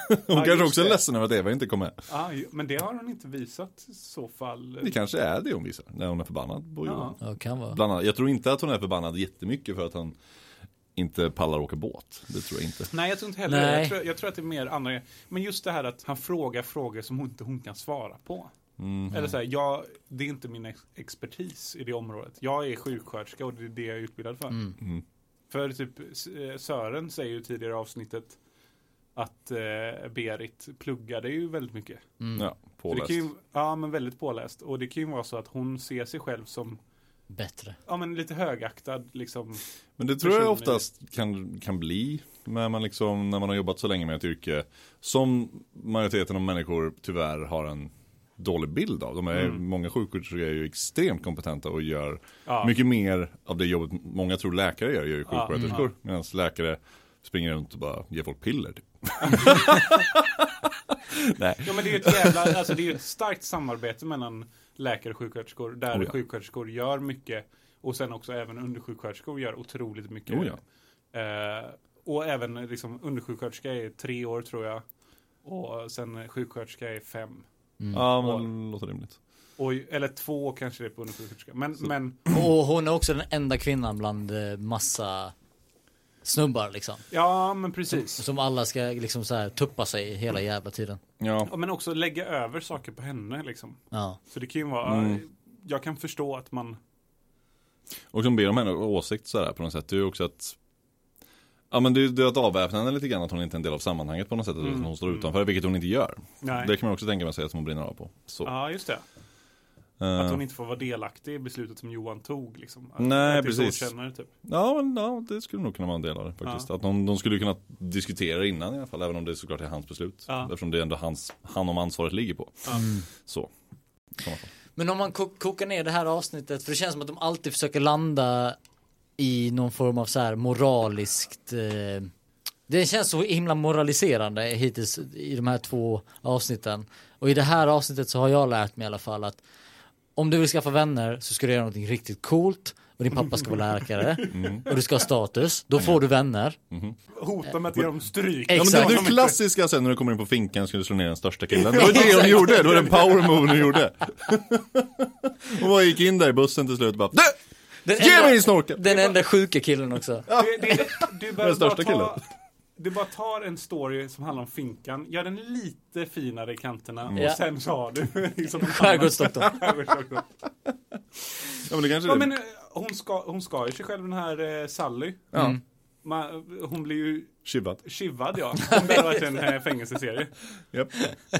Speaker 3: hon
Speaker 2: Ja,
Speaker 3: kanske
Speaker 2: just
Speaker 3: också är
Speaker 2: det.
Speaker 3: ledsen över att Eva inte kom med.
Speaker 2: Ah, ju- men det har hon inte visat i så fall.
Speaker 3: Det kanske är det hon visar, när hon är förbannad på Johan.
Speaker 1: Ja, kan vara.
Speaker 3: Bland annat, jag tror inte att hon är förbannad jättemycket för att han inte pallar åka båt. Det tror jag inte.
Speaker 2: Nej, jag tror inte heller det.
Speaker 1: Nej.
Speaker 2: jag tror, jag tror att det är mer andra Men just det här att han frågar frågor som hon inte hon kan svara på.
Speaker 3: Mm.
Speaker 2: Eller så här, jag, det är inte min ex- expertis i det området. Jag är sjuksköterska och det är det jag är utbildad för.
Speaker 1: Mm.
Speaker 3: Mm.
Speaker 2: För typ S- eh, Sören säger ju tidigare i avsnittet att eh, Berit pluggade ju väldigt mycket.
Speaker 1: Mm.
Speaker 3: Ja,
Speaker 2: Så det
Speaker 3: påläst.
Speaker 2: kan ju, ja, men väldigt påläst. Och det kan ju vara så att hon ser sig själv som
Speaker 1: Bättre.
Speaker 2: ja, men lite högaktad. Liksom.
Speaker 3: Men det tror jag
Speaker 2: personer.
Speaker 3: oftast kan, kan bli när man, liksom, när man har jobbat så länge med ett yrke som majoriteten av människor tyvärr har en dålig bild av. De är, Många sjuksköterskor är ju extremt kompetenta och gör
Speaker 2: Ja.
Speaker 3: mycket mer av det jobbet många tror läkare gör, gör ju sjuksköterskor. Medan läkare springer runt och bara ger folk piller. Typ.
Speaker 2: Ja men det är ju ett jävla, alltså det är ju ett starkt samarbete mellan läkare och sjuksköterskor. Där
Speaker 3: Oh ja.
Speaker 2: sjuksköterskor gör mycket och sen också även undersjuksköterskor gör otroligt mycket.
Speaker 3: Oh ja.
Speaker 2: eh, och även liksom undersjuksköterska är tre år tror jag. Och sen sjuksköterska är fem.
Speaker 3: Ja, men låter rimligt.
Speaker 2: Och, eller två kanske det är på undersjuksköterska. Men, men
Speaker 1: Och hon är också den enda kvinnan bland eh, massa snubbar liksom.
Speaker 2: ja men precis.
Speaker 1: Som alla ska liksom så här tuppa sig hela jävla tiden.
Speaker 3: Ja.
Speaker 2: Ja, Men också lägga över saker på henne liksom.
Speaker 1: Ja.
Speaker 2: Så det kan ju vara,
Speaker 3: Mm.
Speaker 2: jag kan förstå att man
Speaker 3: Och som ber om henne åsikt sådär på något sätt. Det är ju också att Ja men det är, det är att avväpna henne lite grann att hon inte är en del av sammanhanget på något sätt. Att hon står utanför, vilket hon inte gör.
Speaker 2: Nej.
Speaker 3: Det kan man också tänka med sig att hon brinner av på. Så.
Speaker 2: Ja, just det.
Speaker 3: Eh,
Speaker 2: Att hon inte får vara delaktig i beslutet som Johan tog. Liksom. Att-
Speaker 3: Nej,
Speaker 2: att det är så
Speaker 3: precis.
Speaker 2: hon Känner, typ.
Speaker 3: ja, men, ja det skulle nog kunna vara en del av det faktiskt. Att de, de skulle ju kunna diskutera innan i alla fall. Även om det såklart är hans beslut.
Speaker 2: Ja.
Speaker 3: Eftersom det är ändå hans, han om ansvaret ligger på. Så. i sådana fall.
Speaker 1: Men om man ko- kokar ner det här avsnittet, för det känns som att de alltid försöker landa i någon form av så här moraliskt eh, Det känns så himla moraliserande hittills i de här två avsnitten. Och i det här avsnittet så har jag lärt mig i alla fall att om du vill skaffa vänner så ska du göra någonting riktigt coolt och din pappa ska vara läkare och du ska ha status, då får du vänner.
Speaker 2: Hota med att ge dem stryk.
Speaker 3: Ja,
Speaker 1: Exakt.
Speaker 3: men det, det klassiska sen när du kommer in på finkan ska du slå ner den
Speaker 1: (laughs)
Speaker 3: största killen. Det var det de gjorde, det var den power move de gjorde. (laughs) Hon bara gick in där i bussen till slut och bara Du!
Speaker 1: Den
Speaker 3: Ge mig din snorkel!
Speaker 1: Den enda sjuka killen också.
Speaker 2: Det, det,
Speaker 3: (laughs)
Speaker 2: du behöver
Speaker 3: största
Speaker 2: bara ta,
Speaker 3: killen.
Speaker 2: Du bara tar en story som handlar om finkan, gör den lite finare i kanterna
Speaker 3: Mm.
Speaker 1: Ja.
Speaker 2: och sen så har du (laughs)
Speaker 1: (laughs)
Speaker 2: liksom en annan-
Speaker 1: Skärgårdsdoktorn.
Speaker 2: Skärgårdsdoktorn.
Speaker 3: Ja men det kanske
Speaker 2: Ja,
Speaker 3: är
Speaker 2: men
Speaker 3: det.
Speaker 2: eh, hon ska, hon ska ju sig själv den här eh, Sally.
Speaker 1: Mm,
Speaker 3: Ja,
Speaker 2: Ma- hon blir ju
Speaker 3: Tjuvat.
Speaker 2: kivad ja. Om det hade varit en eh, fängelseserie.
Speaker 3: Japp.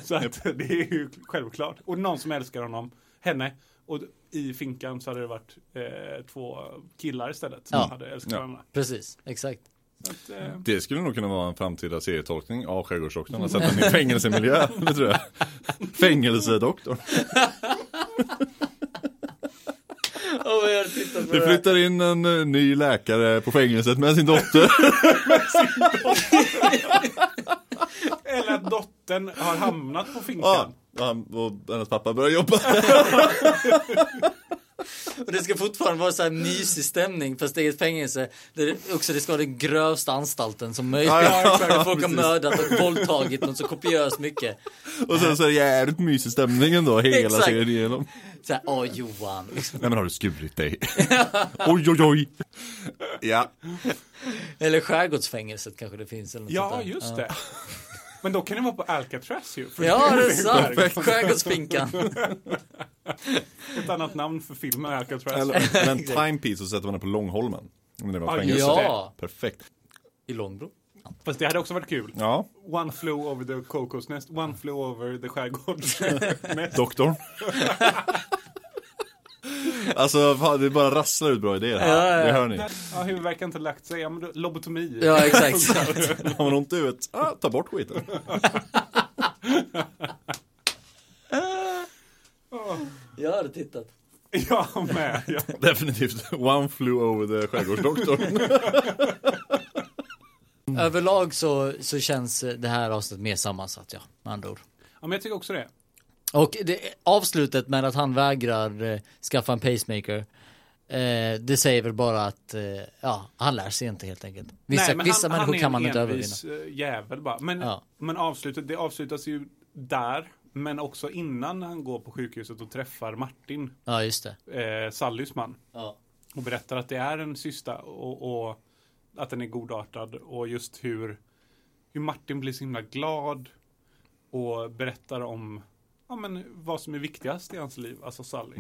Speaker 2: Så att (laughs) det är ju självklart. Och någon som älskar honom, henne. Och i finkan så hade det varit eh, två killar istället som
Speaker 1: Ja.
Speaker 2: hade älskat
Speaker 3: Ja.
Speaker 2: varandra.
Speaker 1: Precis, exakt.
Speaker 2: Så att, eh,
Speaker 3: Det skulle nog kunna vara en framtida serietolkning av Skärgårdsdoktorn. Att sätta den i fängelsemiljö, (laughs) det tror jag. Fängelsedoktorn.
Speaker 1: Oh, jag har tittat på
Speaker 3: Det flyttar in en eh, ny läkare på fängelset med sin dotter.
Speaker 2: Eller att dottern har hamnat på finkan.
Speaker 3: (laughs) Ja, han och hennes pappa börjar jobba.
Speaker 1: Och det ska fortfarande vara så här mysig stämning fast det är ett fängelse. Där det, också det ska vara den grövsta anstalten som möjligt.
Speaker 3: Ja, ja, ja,
Speaker 1: där folk har
Speaker 3: precis.
Speaker 1: mördat och våldtagit något så kopiöst mycket.
Speaker 3: Och sen så är det jävligt mysig stämning ändå hela
Speaker 1: Exakt.
Speaker 3: serien igenom.
Speaker 1: Så här, åh Johan. liksom.
Speaker 3: Nej men har du skurit dig? (laughs) oj oj oj! Ja,
Speaker 1: Eller skärgårdsfängelset kanske det finns. Eller något sånt
Speaker 2: Ja,
Speaker 1: där.
Speaker 2: just det. Men då kan det vara på Alcatraz ju. För
Speaker 1: Ja,
Speaker 3: (laughs)
Speaker 1: det är sant.
Speaker 2: Perfekt.
Speaker 1: Skärgårdsfinkan.
Speaker 2: Ett annat namn för filmen är Alcatraz.
Speaker 3: eller, men timepiece och så sätter man den på Långholmen. Om det var
Speaker 2: Ja,
Speaker 3: fängelse.
Speaker 1: Ja,
Speaker 3: Perfekt.
Speaker 1: i Långbro.
Speaker 2: Fast det hade också varit kul.
Speaker 3: Ja,
Speaker 2: One flew over the Cocos Nest, one flew over the skärgård.
Speaker 3: doktorn. alltså fan, det bara rasslar ut bra idéer här.
Speaker 1: Ja, ja, ja.
Speaker 3: Det hör ni.
Speaker 2: ja, huvudvärken har inte lagt sig. Ja, men då, lobotomi.
Speaker 1: Ja, exakt.
Speaker 3: Har man ont i huvudet, ah, ta bort skiten.
Speaker 1: Jag har tittat.
Speaker 2: Jag med. (laughs) Ja.
Speaker 3: Definitivt. One flew over the skärgårdsdoktorn.
Speaker 1: Mm. Överlag så, så känns det här avsnittet mer sammansatt, ja. Med andra ord.
Speaker 2: ja, men jag tycker också det.
Speaker 1: Och det, avslutet med att han vägrar eh, skaffa en pacemaker. Eh, det säger väl bara att eh, ja, han lär sig inte helt enkelt. Vissa,
Speaker 2: Nej, men
Speaker 1: vissa
Speaker 2: han,
Speaker 1: människor
Speaker 2: han är
Speaker 1: kan man
Speaker 2: en
Speaker 1: inte övervinna.
Speaker 2: envis, eh, jävel bara. Men,
Speaker 1: Ja.
Speaker 2: men avslutet, det avslutas ju där. Men också innan han går på sjukhuset och träffar Martin,
Speaker 1: Ja, just det.
Speaker 2: eh, Sallys man.
Speaker 1: Ja.
Speaker 2: och berättar att det är en systa och, och att den är godartad och just hur, hur Martin blir så himla glad och berättar om ja, men vad som är viktigast i hans liv, alltså Sally.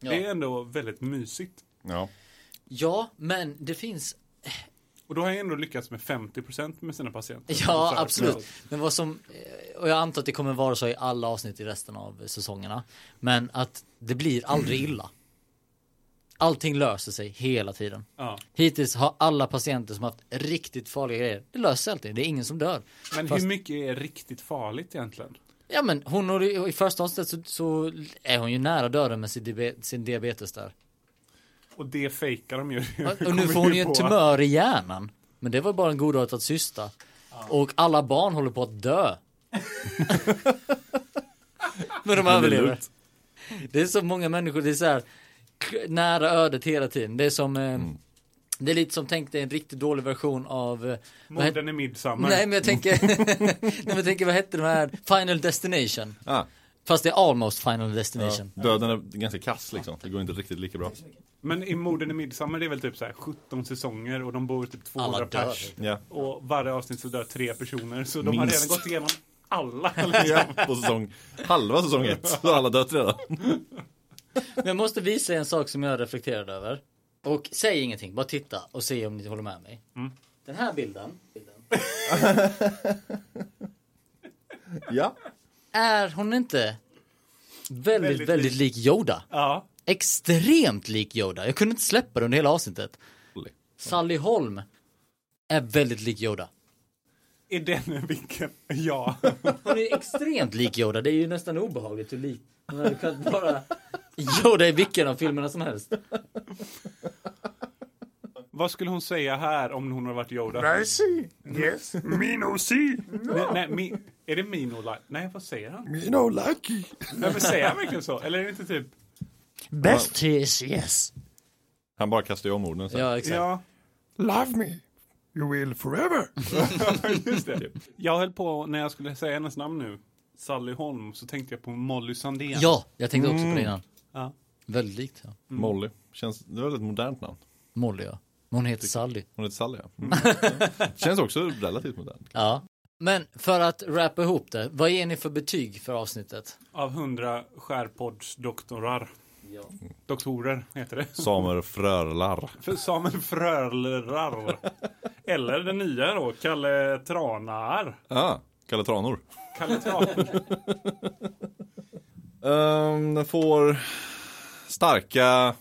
Speaker 1: Ja.
Speaker 2: Det är ändå väldigt mysigt.
Speaker 3: Ja.
Speaker 1: ja, men det finns
Speaker 2: Och då har jag ändå lyckats med 50% med sina patienter.
Speaker 1: Ja,
Speaker 2: Så här,
Speaker 1: absolut. Men vad som, eh, och jag antar att det kommer vara så i alla avsnitt i resten av säsongerna. Men att det blir aldrig
Speaker 2: Mm.
Speaker 1: illa. Allting löser sig hela tiden.
Speaker 2: Ja.
Speaker 1: Hittills har alla patienter som haft riktigt farliga grejer, det löser sig alltid. Det är ingen som dör.
Speaker 2: Men
Speaker 1: Fast-
Speaker 2: hur mycket är riktigt farligt egentligen?
Speaker 1: Ja men hon har, i första avsnittet så, så är hon ju nära döden med sin, diabe- sin diabetes
Speaker 3: (laughs)
Speaker 1: där.
Speaker 2: Och det fejkar de ju. (laughs)
Speaker 1: Och nu får hon ju en tumör i hjärnan. Men det var bara en godartad syster. Och alla barn håller på att
Speaker 3: (laughs)
Speaker 1: dö. men de överlever.
Speaker 3: lugnt.
Speaker 1: Det är så många människor, det är så här k- nära ödet hela tiden. Det är som, eh,
Speaker 3: Mm.
Speaker 1: det är lite som tänk dig en riktigt dålig version av, eh, vad het-
Speaker 2: Morden i Midsommar.
Speaker 1: nej men jag
Speaker 3: (laughs)
Speaker 1: tänker, (laughs) nej men jag tänker vad hette de här, Final Destination.
Speaker 3: Ah,
Speaker 1: Fast det är almost Final
Speaker 3: ja.
Speaker 1: Destination.
Speaker 3: Döden är ganska kass liksom. Det går inte riktigt lika bra.
Speaker 2: Men i Morden i Midsommar det är väl typ så här 17 säsonger och de bor typ 200
Speaker 1: Alla dör.
Speaker 2: pers.
Speaker 3: Ja.
Speaker 2: Och varje avsnitt så dör tre personer. Så de har
Speaker 3: Minst.
Speaker 2: redan gått igenom alla.
Speaker 1: (laughs)
Speaker 2: liksom.
Speaker 3: På säsong, halva säsong ett. Så har alla dött redan.
Speaker 1: Men jag måste visa er en sak som jag reflekterade över. Och säg ingenting, bara titta och se om ni håller med mig. Den här bilden, bilden.
Speaker 3: Ja.
Speaker 1: Är hon inte väldigt, väldigt,
Speaker 2: Väldigt
Speaker 1: lik Yoda?
Speaker 2: Ja.
Speaker 1: Extremt lik Yoda. Jag kunde inte släppa det under hela avsnittet. Sally Holm är väldigt lik Yoda.
Speaker 2: I den vinkeln, ja.
Speaker 1: Hon är extremt lik Yoda. Det är ju nästan obehagligt hur lik hon hade kunnat vara Yoda i vilken av filmerna som helst.
Speaker 2: Vad skulle hon säga här om hon har varit Yoda?
Speaker 3: see. Yes. Me no see.
Speaker 2: Nej, nej, mi, är det Mino Light? Nej, vad säger han?
Speaker 3: Me no lucky.
Speaker 2: Nej, men säger han verkligen så? Eller är det inte typ...
Speaker 1: Best is yes.
Speaker 3: Han bara kastar ju om orden sen.
Speaker 1: Ja, exakt.
Speaker 2: Ja,
Speaker 4: Love me, you will forever.
Speaker 2: just det. Jag höll på, när jag skulle säga hennes namn nu, Sally Holm, så tänkte jag på Molly Sandén.
Speaker 1: Ja, jag tänkte också på det innan.
Speaker 2: Ja.
Speaker 1: Väldigt likt. Ja.
Speaker 3: Mm. Molly. Känns, det var ett modernt namn.
Speaker 1: Molly, ja. Men Hon heter Sally.
Speaker 3: Hon heter Sally ja.
Speaker 1: (laughs)
Speaker 3: Mm. Känns också relativt modernt.
Speaker 1: Ja. Men för att wrappa ihop det, vad ger ni för betyg för avsnittet?
Speaker 2: Av hundra skärpoddsdoktorar. Doktorer heter det.
Speaker 3: Samer frörlar.
Speaker 2: För Samuel Frölrar. Eller den nya då, Kalle Tranar.
Speaker 3: Ja, Kalle Tranor.
Speaker 2: Kalle Tranar.
Speaker 3: Ehm, den får starka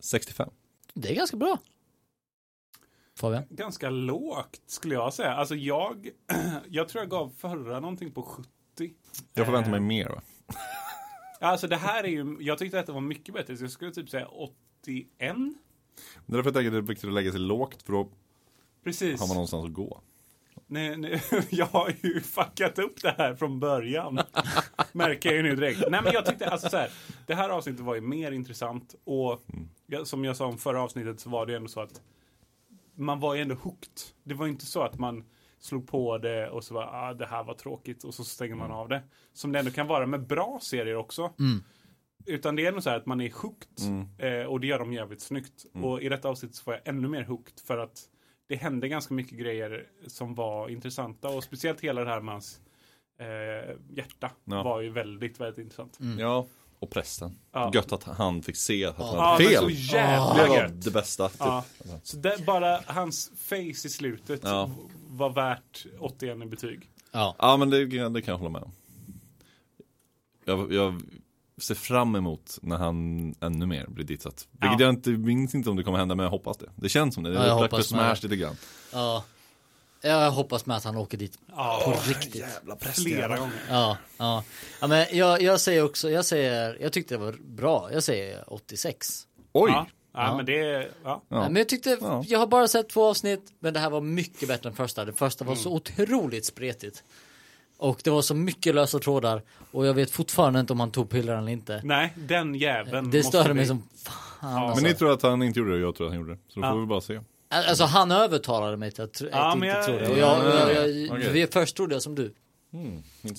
Speaker 3: 65.
Speaker 1: Det är ganska bra. Fabian?
Speaker 2: Ganska lågt skulle jag säga. Alltså jag, (clears throat) jag tror jag gav förra någonting på 70.
Speaker 3: Jag förväntar mig mer va?
Speaker 2: Alltså det här är ju, jag tyckte detta var mycket bättre så jag skulle typ säga 81.
Speaker 3: Det är därför jag tänker att det är viktigt att lägga sig lågt för då
Speaker 2: Precis.
Speaker 3: har man någonstans att gå.
Speaker 2: Nej, nej, (laughs) jag har ju fuckat upp det här från början. Märker jag ju nu direkt. Nej men jag tyckte, alltså så här, det här avsnittet var ju mer intressant och jag, som jag sa om förra avsnittet så var det ju ändå så att man var ju ändå hooked. Det var ju inte så att man slog på det och så var ah, det här var tråkigt och så stänger
Speaker 3: Mm.
Speaker 2: man av det. Som det ändå kan vara med bra serier också. Utan det är nog så här att man är hooked
Speaker 3: Mm.
Speaker 2: eh, och det gör de jävligt snyggt. Och i detta avsnitt så var jag ännu mer hooked för att det hände ganska mycket grejer som var intressanta och speciellt hela det här med hans eh, hjärta
Speaker 3: Ja. Mm.
Speaker 2: var ju väldigt, väldigt intressant.
Speaker 3: Ja, och prästen.
Speaker 2: Ja.
Speaker 3: Gött att han fick se att han
Speaker 2: Ja,
Speaker 3: hade
Speaker 2: men så
Speaker 3: fel.
Speaker 2: jävla
Speaker 3: Det var
Speaker 2: gött.
Speaker 3: det bästa. Typ.
Speaker 2: Ja. Så det, bara hans face i slutet
Speaker 3: Ja.
Speaker 2: var värt 81 i betyg.
Speaker 1: Ja.
Speaker 3: Ja, men det, det kan jag hålla med om. Jag, jag ser fram emot när han ännu mer blir ditsatt. Vilket
Speaker 2: Ja.
Speaker 3: jag inte minns inte om det kommer hända, men jag hoppas det. Det känns som det. Det
Speaker 1: Ja,
Speaker 3: är
Speaker 1: jag
Speaker 3: upplagt för
Speaker 1: hoppas
Speaker 3: smash
Speaker 1: med.
Speaker 3: lite grann.
Speaker 1: ja. Jag hoppas med att han åker dit
Speaker 2: Ja.
Speaker 1: på riktigt.
Speaker 2: Flera gånger.
Speaker 1: Ja, ja. ja men jag, jag säger också, jag säger, jag tyckte det var bra, jag säger 86.
Speaker 3: Oj!
Speaker 2: Ja. Ja, men det, ja.
Speaker 3: Ja.
Speaker 1: Men jag tyckte,
Speaker 3: Ja.
Speaker 1: jag har bara sett två avsnitt, men det här var mycket bättre än första. Det första var så otroligt spretigt. Och det var så mycket lösa trådar och jag vet fortfarande inte om han tog piller eller inte.
Speaker 2: Nej, den jäveln
Speaker 1: Det
Speaker 2: måste
Speaker 1: störde
Speaker 2: vi-
Speaker 1: mig som fan
Speaker 2: Ja.
Speaker 1: alltså.
Speaker 3: Men ni tror att han inte gjorde det och jag tror att han gjorde det. Så då får vi bara se.
Speaker 1: alltså han övertalade mig till att, tro-
Speaker 2: Ja,
Speaker 1: att
Speaker 2: men
Speaker 1: inte
Speaker 2: jag-
Speaker 1: tro det. Och
Speaker 3: Ja,
Speaker 1: jag,
Speaker 3: ja,
Speaker 1: jag,
Speaker 3: ja.
Speaker 1: jag,
Speaker 3: Okej. Mm,
Speaker 1: vi- Först trodde jag som du.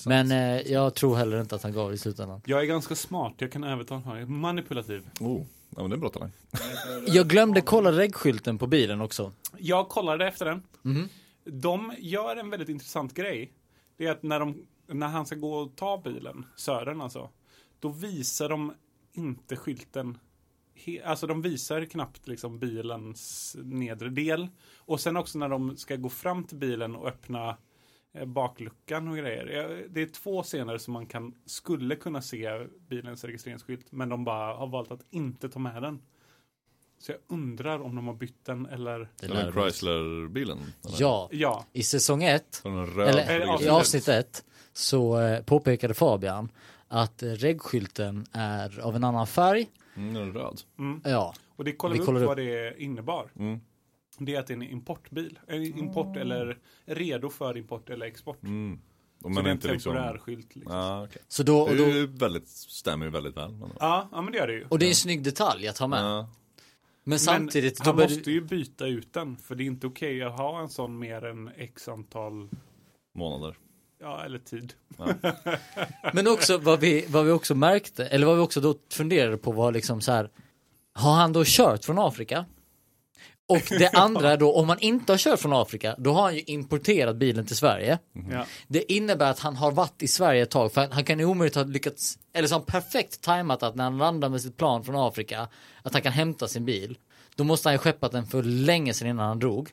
Speaker 1: Men eh, jag tror heller inte att han gav det i slutändan.
Speaker 2: Jag är ganska smart, jag kan övertala honom. Jag är manipulativ.
Speaker 3: Oh. Ja men det är bra talang.
Speaker 1: Jag glömde kolla regskylten på bilen också.
Speaker 2: Jag kollade efter den. De gör en väldigt intressant grej. Det är att när, de, när han ska gå och ta bilen, Sören alltså, då visar de inte skylten. He, alltså de visar knappt liksom bilens nedre del. Och sen också när de ska gå fram till bilen och öppna eh, bakluckan och grejer. Jag- Det är två scener som man kan, skulle kunna se bilens registreringsskylt, men de bara har valt att inte ta med den. Så jag undrar om de har bytt den eller
Speaker 1: Det
Speaker 3: Den här
Speaker 1: lär mig.
Speaker 3: Chrysler-bilen. eller?
Speaker 1: Ja,
Speaker 2: Ja,
Speaker 1: i säsong ett,
Speaker 3: Så Den röd.
Speaker 1: Eller-
Speaker 3: Eller,
Speaker 1: i avsnitt ett, så eh, påpekade Fabian att eh, regskylten är av en annan färg.
Speaker 3: mm, den är röd.
Speaker 1: Ja,
Speaker 2: och det kollade
Speaker 1: Vi
Speaker 2: vi upp
Speaker 1: kollar upp.
Speaker 2: vad det innebar.
Speaker 3: Mm.
Speaker 2: Det är att det är en importbil. En import eller redo för import eller export.
Speaker 3: Om
Speaker 2: Så
Speaker 3: Mm. man
Speaker 2: det är en
Speaker 3: inte liksom.
Speaker 2: temporär
Speaker 3: Ja,
Speaker 2: skylt. Liksom.
Speaker 3: ah, okej.
Speaker 1: så då, och,
Speaker 3: Det är
Speaker 1: då,
Speaker 3: ju väldigt, stämmer ju väldigt väl. Men,
Speaker 2: Ja, ja, men det gör det ju.
Speaker 1: och det är en snygg detalj att ha med.
Speaker 3: Ja.
Speaker 1: Men samtidigt,
Speaker 2: men
Speaker 1: då
Speaker 2: han
Speaker 1: började-
Speaker 2: måste ju byta ut den. För det är inte okej att ha en sån mer än x antal,
Speaker 3: månader.
Speaker 2: ja eller tid.
Speaker 1: Men också vad vi, vad vi också märkte, eller vad vi också då funderade på var liksom så här. Har han då kört från Afrika? Och
Speaker 3: (laughs)
Speaker 1: det andra är då, om han inte har kört från Afrika, då har han ju importerat bilen till Sverige.
Speaker 2: Ja.
Speaker 1: Det innebär att han har varit i Sverige ett tag, för han, han kan ju omöjligt ha lyckats, eller så har han perfekt tajmat att när han landar med sitt plan från Afrika, att han kan hämta sin bil. Då måste han ju skeppat den för länge sedan innan han drog.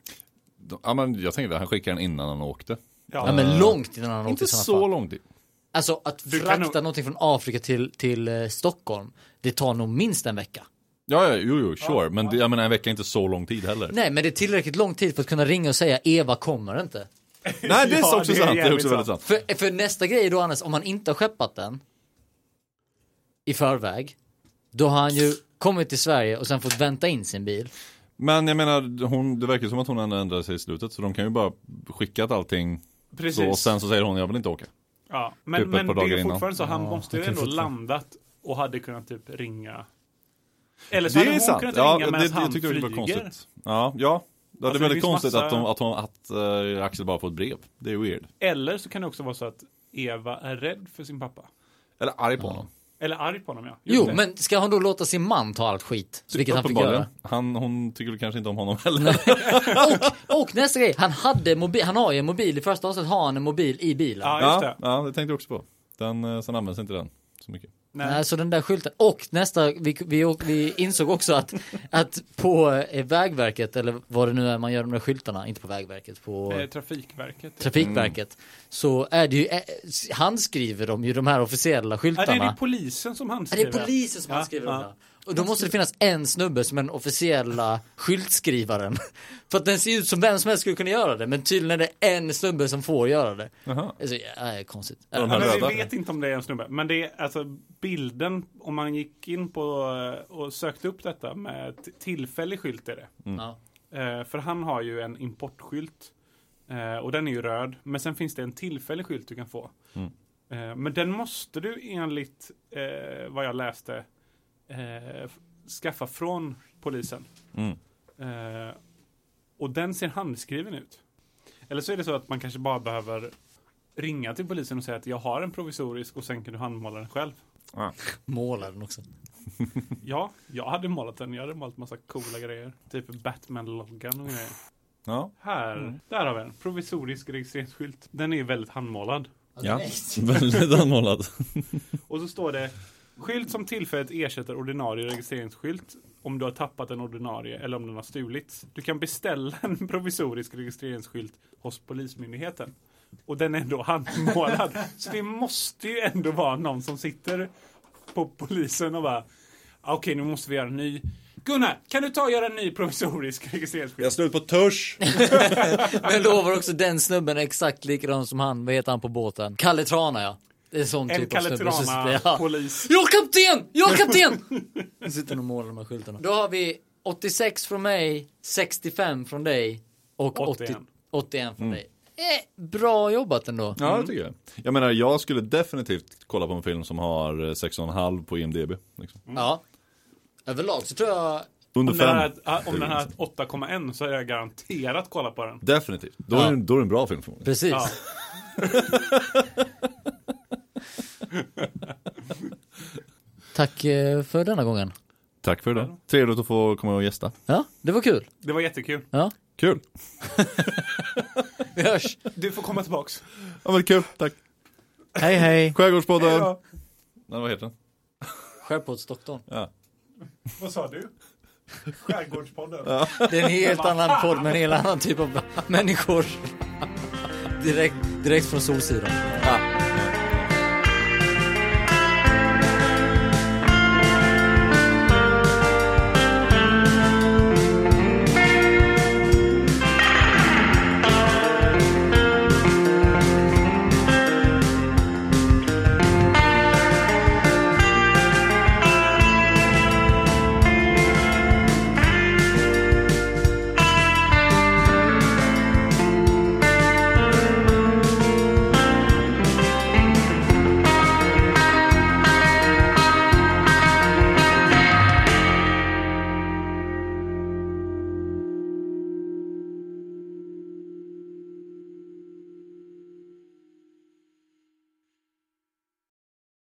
Speaker 3: De- Ja men jag tänkte att han skickade den innan han åkte.
Speaker 1: Ja,
Speaker 2: Ja.
Speaker 1: men långt innan han åkte
Speaker 3: Ah. Inte
Speaker 1: i sådana
Speaker 3: så
Speaker 1: fall.
Speaker 3: lång tid.
Speaker 1: Alltså att
Speaker 2: Du kan
Speaker 1: frakta
Speaker 2: nog-
Speaker 1: någonting från Afrika till, till eh, Stockholm, det tar nog minst en vecka.
Speaker 3: Ja, ja jo, jo, sure. men det, jag menar en vecka är inte så lång tid heller.
Speaker 1: (laughs) Nej, men det är tillräckligt lång tid för att kunna ringa och säga Eva kommer inte.
Speaker 3: Nej, det är
Speaker 2: Ja,
Speaker 3: också
Speaker 2: det är
Speaker 3: sant. Det är
Speaker 2: jävligt
Speaker 3: också väldigt sant.
Speaker 1: För, för nästa grej är då annars, om han inte har skeppat den i förväg, då har han ju kommit till Sverige och sen fått vänta in sin bil.
Speaker 3: Men jag menar, hon, det verkar ju som att hon ändå ändrade sig i slutet. Så de kan ju bara skickat allting.
Speaker 2: Precis.
Speaker 3: Så, och sen så säger hon, jag vill inte åka.
Speaker 2: ja. Men,
Speaker 3: Typ ett
Speaker 2: men
Speaker 3: par
Speaker 2: det
Speaker 3: dagar
Speaker 2: är
Speaker 3: innan.
Speaker 2: fortfarande så, han måste ju
Speaker 1: det kan
Speaker 2: ändå
Speaker 1: fortfarande-
Speaker 2: landat och hade kunnat typ ringa Eller så
Speaker 3: Det
Speaker 2: hade
Speaker 3: är
Speaker 2: hon
Speaker 3: sant.
Speaker 2: kunnat
Speaker 3: Ja,
Speaker 2: ringa
Speaker 3: det,
Speaker 2: medan
Speaker 3: det,
Speaker 2: han
Speaker 3: tyckte jag
Speaker 2: flyger.
Speaker 3: var konstigt. Ja, ja. Det
Speaker 2: Alltså,
Speaker 3: är
Speaker 2: det
Speaker 3: väldigt
Speaker 2: finns
Speaker 3: konstigt
Speaker 2: massa-
Speaker 3: att, de, att, hon, att eh, Axel bara får ett brev. Det är weird.
Speaker 2: Eller så kan det också vara så att Eva är rädd för sin pappa.
Speaker 3: Eller arg på honom.
Speaker 2: Eller arg på honom ja. Just
Speaker 1: Jo,
Speaker 2: det.
Speaker 1: men ska han då låta sin man ta allt skit? Vilket han fick
Speaker 3: Uppenbarligen.
Speaker 1: göra.
Speaker 3: Han, hon tycker väl kanske inte om
Speaker 1: (laughs)
Speaker 3: honom heller.
Speaker 1: Och nästa grej, han hade mobil, han har ju en mobil, i första avsnittet har han en mobil i bilen.
Speaker 2: Ja, just
Speaker 3: Ja,
Speaker 2: det.
Speaker 3: ja, det tänkte jag också på. Den, eh, sen används inte den så mycket.
Speaker 1: Nej, så den där skylten. Och nästa, vi, vi, åk- vi insåg också att, att på eh, Vägverket, eller vad det nu är man gör med de där skyltarna, inte på Vägverket, på
Speaker 2: Eh, Trafikverket.
Speaker 1: Trafikverket, så är det ju, eh, han skriver de ju de här officiella
Speaker 2: Ja, det
Speaker 1: skyltarna.
Speaker 2: är det polisen som han
Speaker 1: Ja, det
Speaker 2: skriver.
Speaker 1: är polisen som
Speaker 2: Ja,
Speaker 1: han skriver
Speaker 2: ja.
Speaker 1: dem där. Och då måste det finnas en snubbe som är den officiella skyltskrivaren. (laughs) För att den ser ut som vem som helst skulle kunna göra det, men tydligen är det en snubbe som får göra det. Alltså,
Speaker 3: Jaha.
Speaker 1: Det är så jävla konstigt.
Speaker 3: de
Speaker 2: Ja,
Speaker 3: här
Speaker 2: men vi
Speaker 3: röda.
Speaker 2: vet inte om det är en snubbe. Men det är alltså bilden, om man gick in på eh, och sökte upp detta med t- tillfällig skylt är det.
Speaker 1: Ja.
Speaker 2: Eh, för han har ju en importskylt. Eh, och den är ju röd. Men sen finns det en tillfällig skylt du kan få. Eh, men den måste du enligt eh, vad jag läste eh, f- skaffa från polisen.
Speaker 3: Mm.
Speaker 2: Eh, och den ser handskriven ut. Eller så är det så att man kanske bara behöver ringa till polisen och säga att jag har en provisorisk och sen kan du handmåla den själv.
Speaker 1: Målar den också.
Speaker 2: Ja, jag hade målat den. Jag hade målat massa coola grejer. Typ Batman-loggan och grejer.
Speaker 1: (laughs)
Speaker 3: Ja.
Speaker 2: Här, där har vi en provisorisk registreringsskylt. Den är väldigt handmålad.
Speaker 3: ja. Väldigt anmålad.
Speaker 2: Och så står det skylt som tillfälligt ersätter ordinarie registreringsskylt om du har tappat en ordinarie eller om den har stulits. Du kan beställa en provisorisk registreringsskylt hos Polismyndigheten. Och den är ändå handmålad. Så det måste ju ändå vara någon som sitter på polisen och bara "Ah, Okej, nu måste vi göra en ny. Gunnar, kan du ta och göra en ny provisorisk registreringsskylt?
Speaker 3: Jag slut på törs.
Speaker 1: Men jag lovar också den snubben är exakt likadan som han, vad heter han på båten? Kalle Trana ja. Det är sån
Speaker 2: En
Speaker 1: typ av
Speaker 2: Kalle
Speaker 1: snubbe. Så sitter- (laughs) ja.
Speaker 2: Trana-polis.
Speaker 1: Jag är kapten! Jag är kapten! (laughs) Nu sitter han och målar de här skyltarna. Då har vi 86 från mig, 65 från dig och 81,
Speaker 2: 81.
Speaker 1: 81 från dig. Eh, bra jobbat ändå.
Speaker 2: Mm.
Speaker 3: Ja, det tycker jag. Jag menar, jag skulle definitivt kolla på en film som har eh, 6,5 på IMDB. Liksom.
Speaker 1: Ja. Överlag så tror jag
Speaker 3: Under
Speaker 2: Om den
Speaker 3: 5.
Speaker 2: här, ah, om den här 8,1 så har jag garanterat kollat på den.
Speaker 3: Definitivt. Då,
Speaker 1: Ja.
Speaker 3: är, det- då är det en bra film förmodligen.
Speaker 1: Precis.
Speaker 2: Ja.
Speaker 1: Tack eh, för denna gången.
Speaker 3: Tack för det. Trevligt att få komma och gästa.
Speaker 1: Ja, det var kul.
Speaker 2: Det var jättekul.
Speaker 1: Ja,
Speaker 3: Kul.
Speaker 1: vi hörs.
Speaker 2: Du får komma tillbaks.
Speaker 3: Ja, men kul. Tack.
Speaker 1: Hej hej.
Speaker 3: Skärgårdspodden.
Speaker 2: Ja,
Speaker 3: Nej, vad heter den?
Speaker 1: Skärpoddsdoktorn.
Speaker 2: vad sa du? Skärgårdspodden.
Speaker 1: Det är en helt annan podd med en helt annan typ av människor. Direkt, direkt från Solsidan. Ja.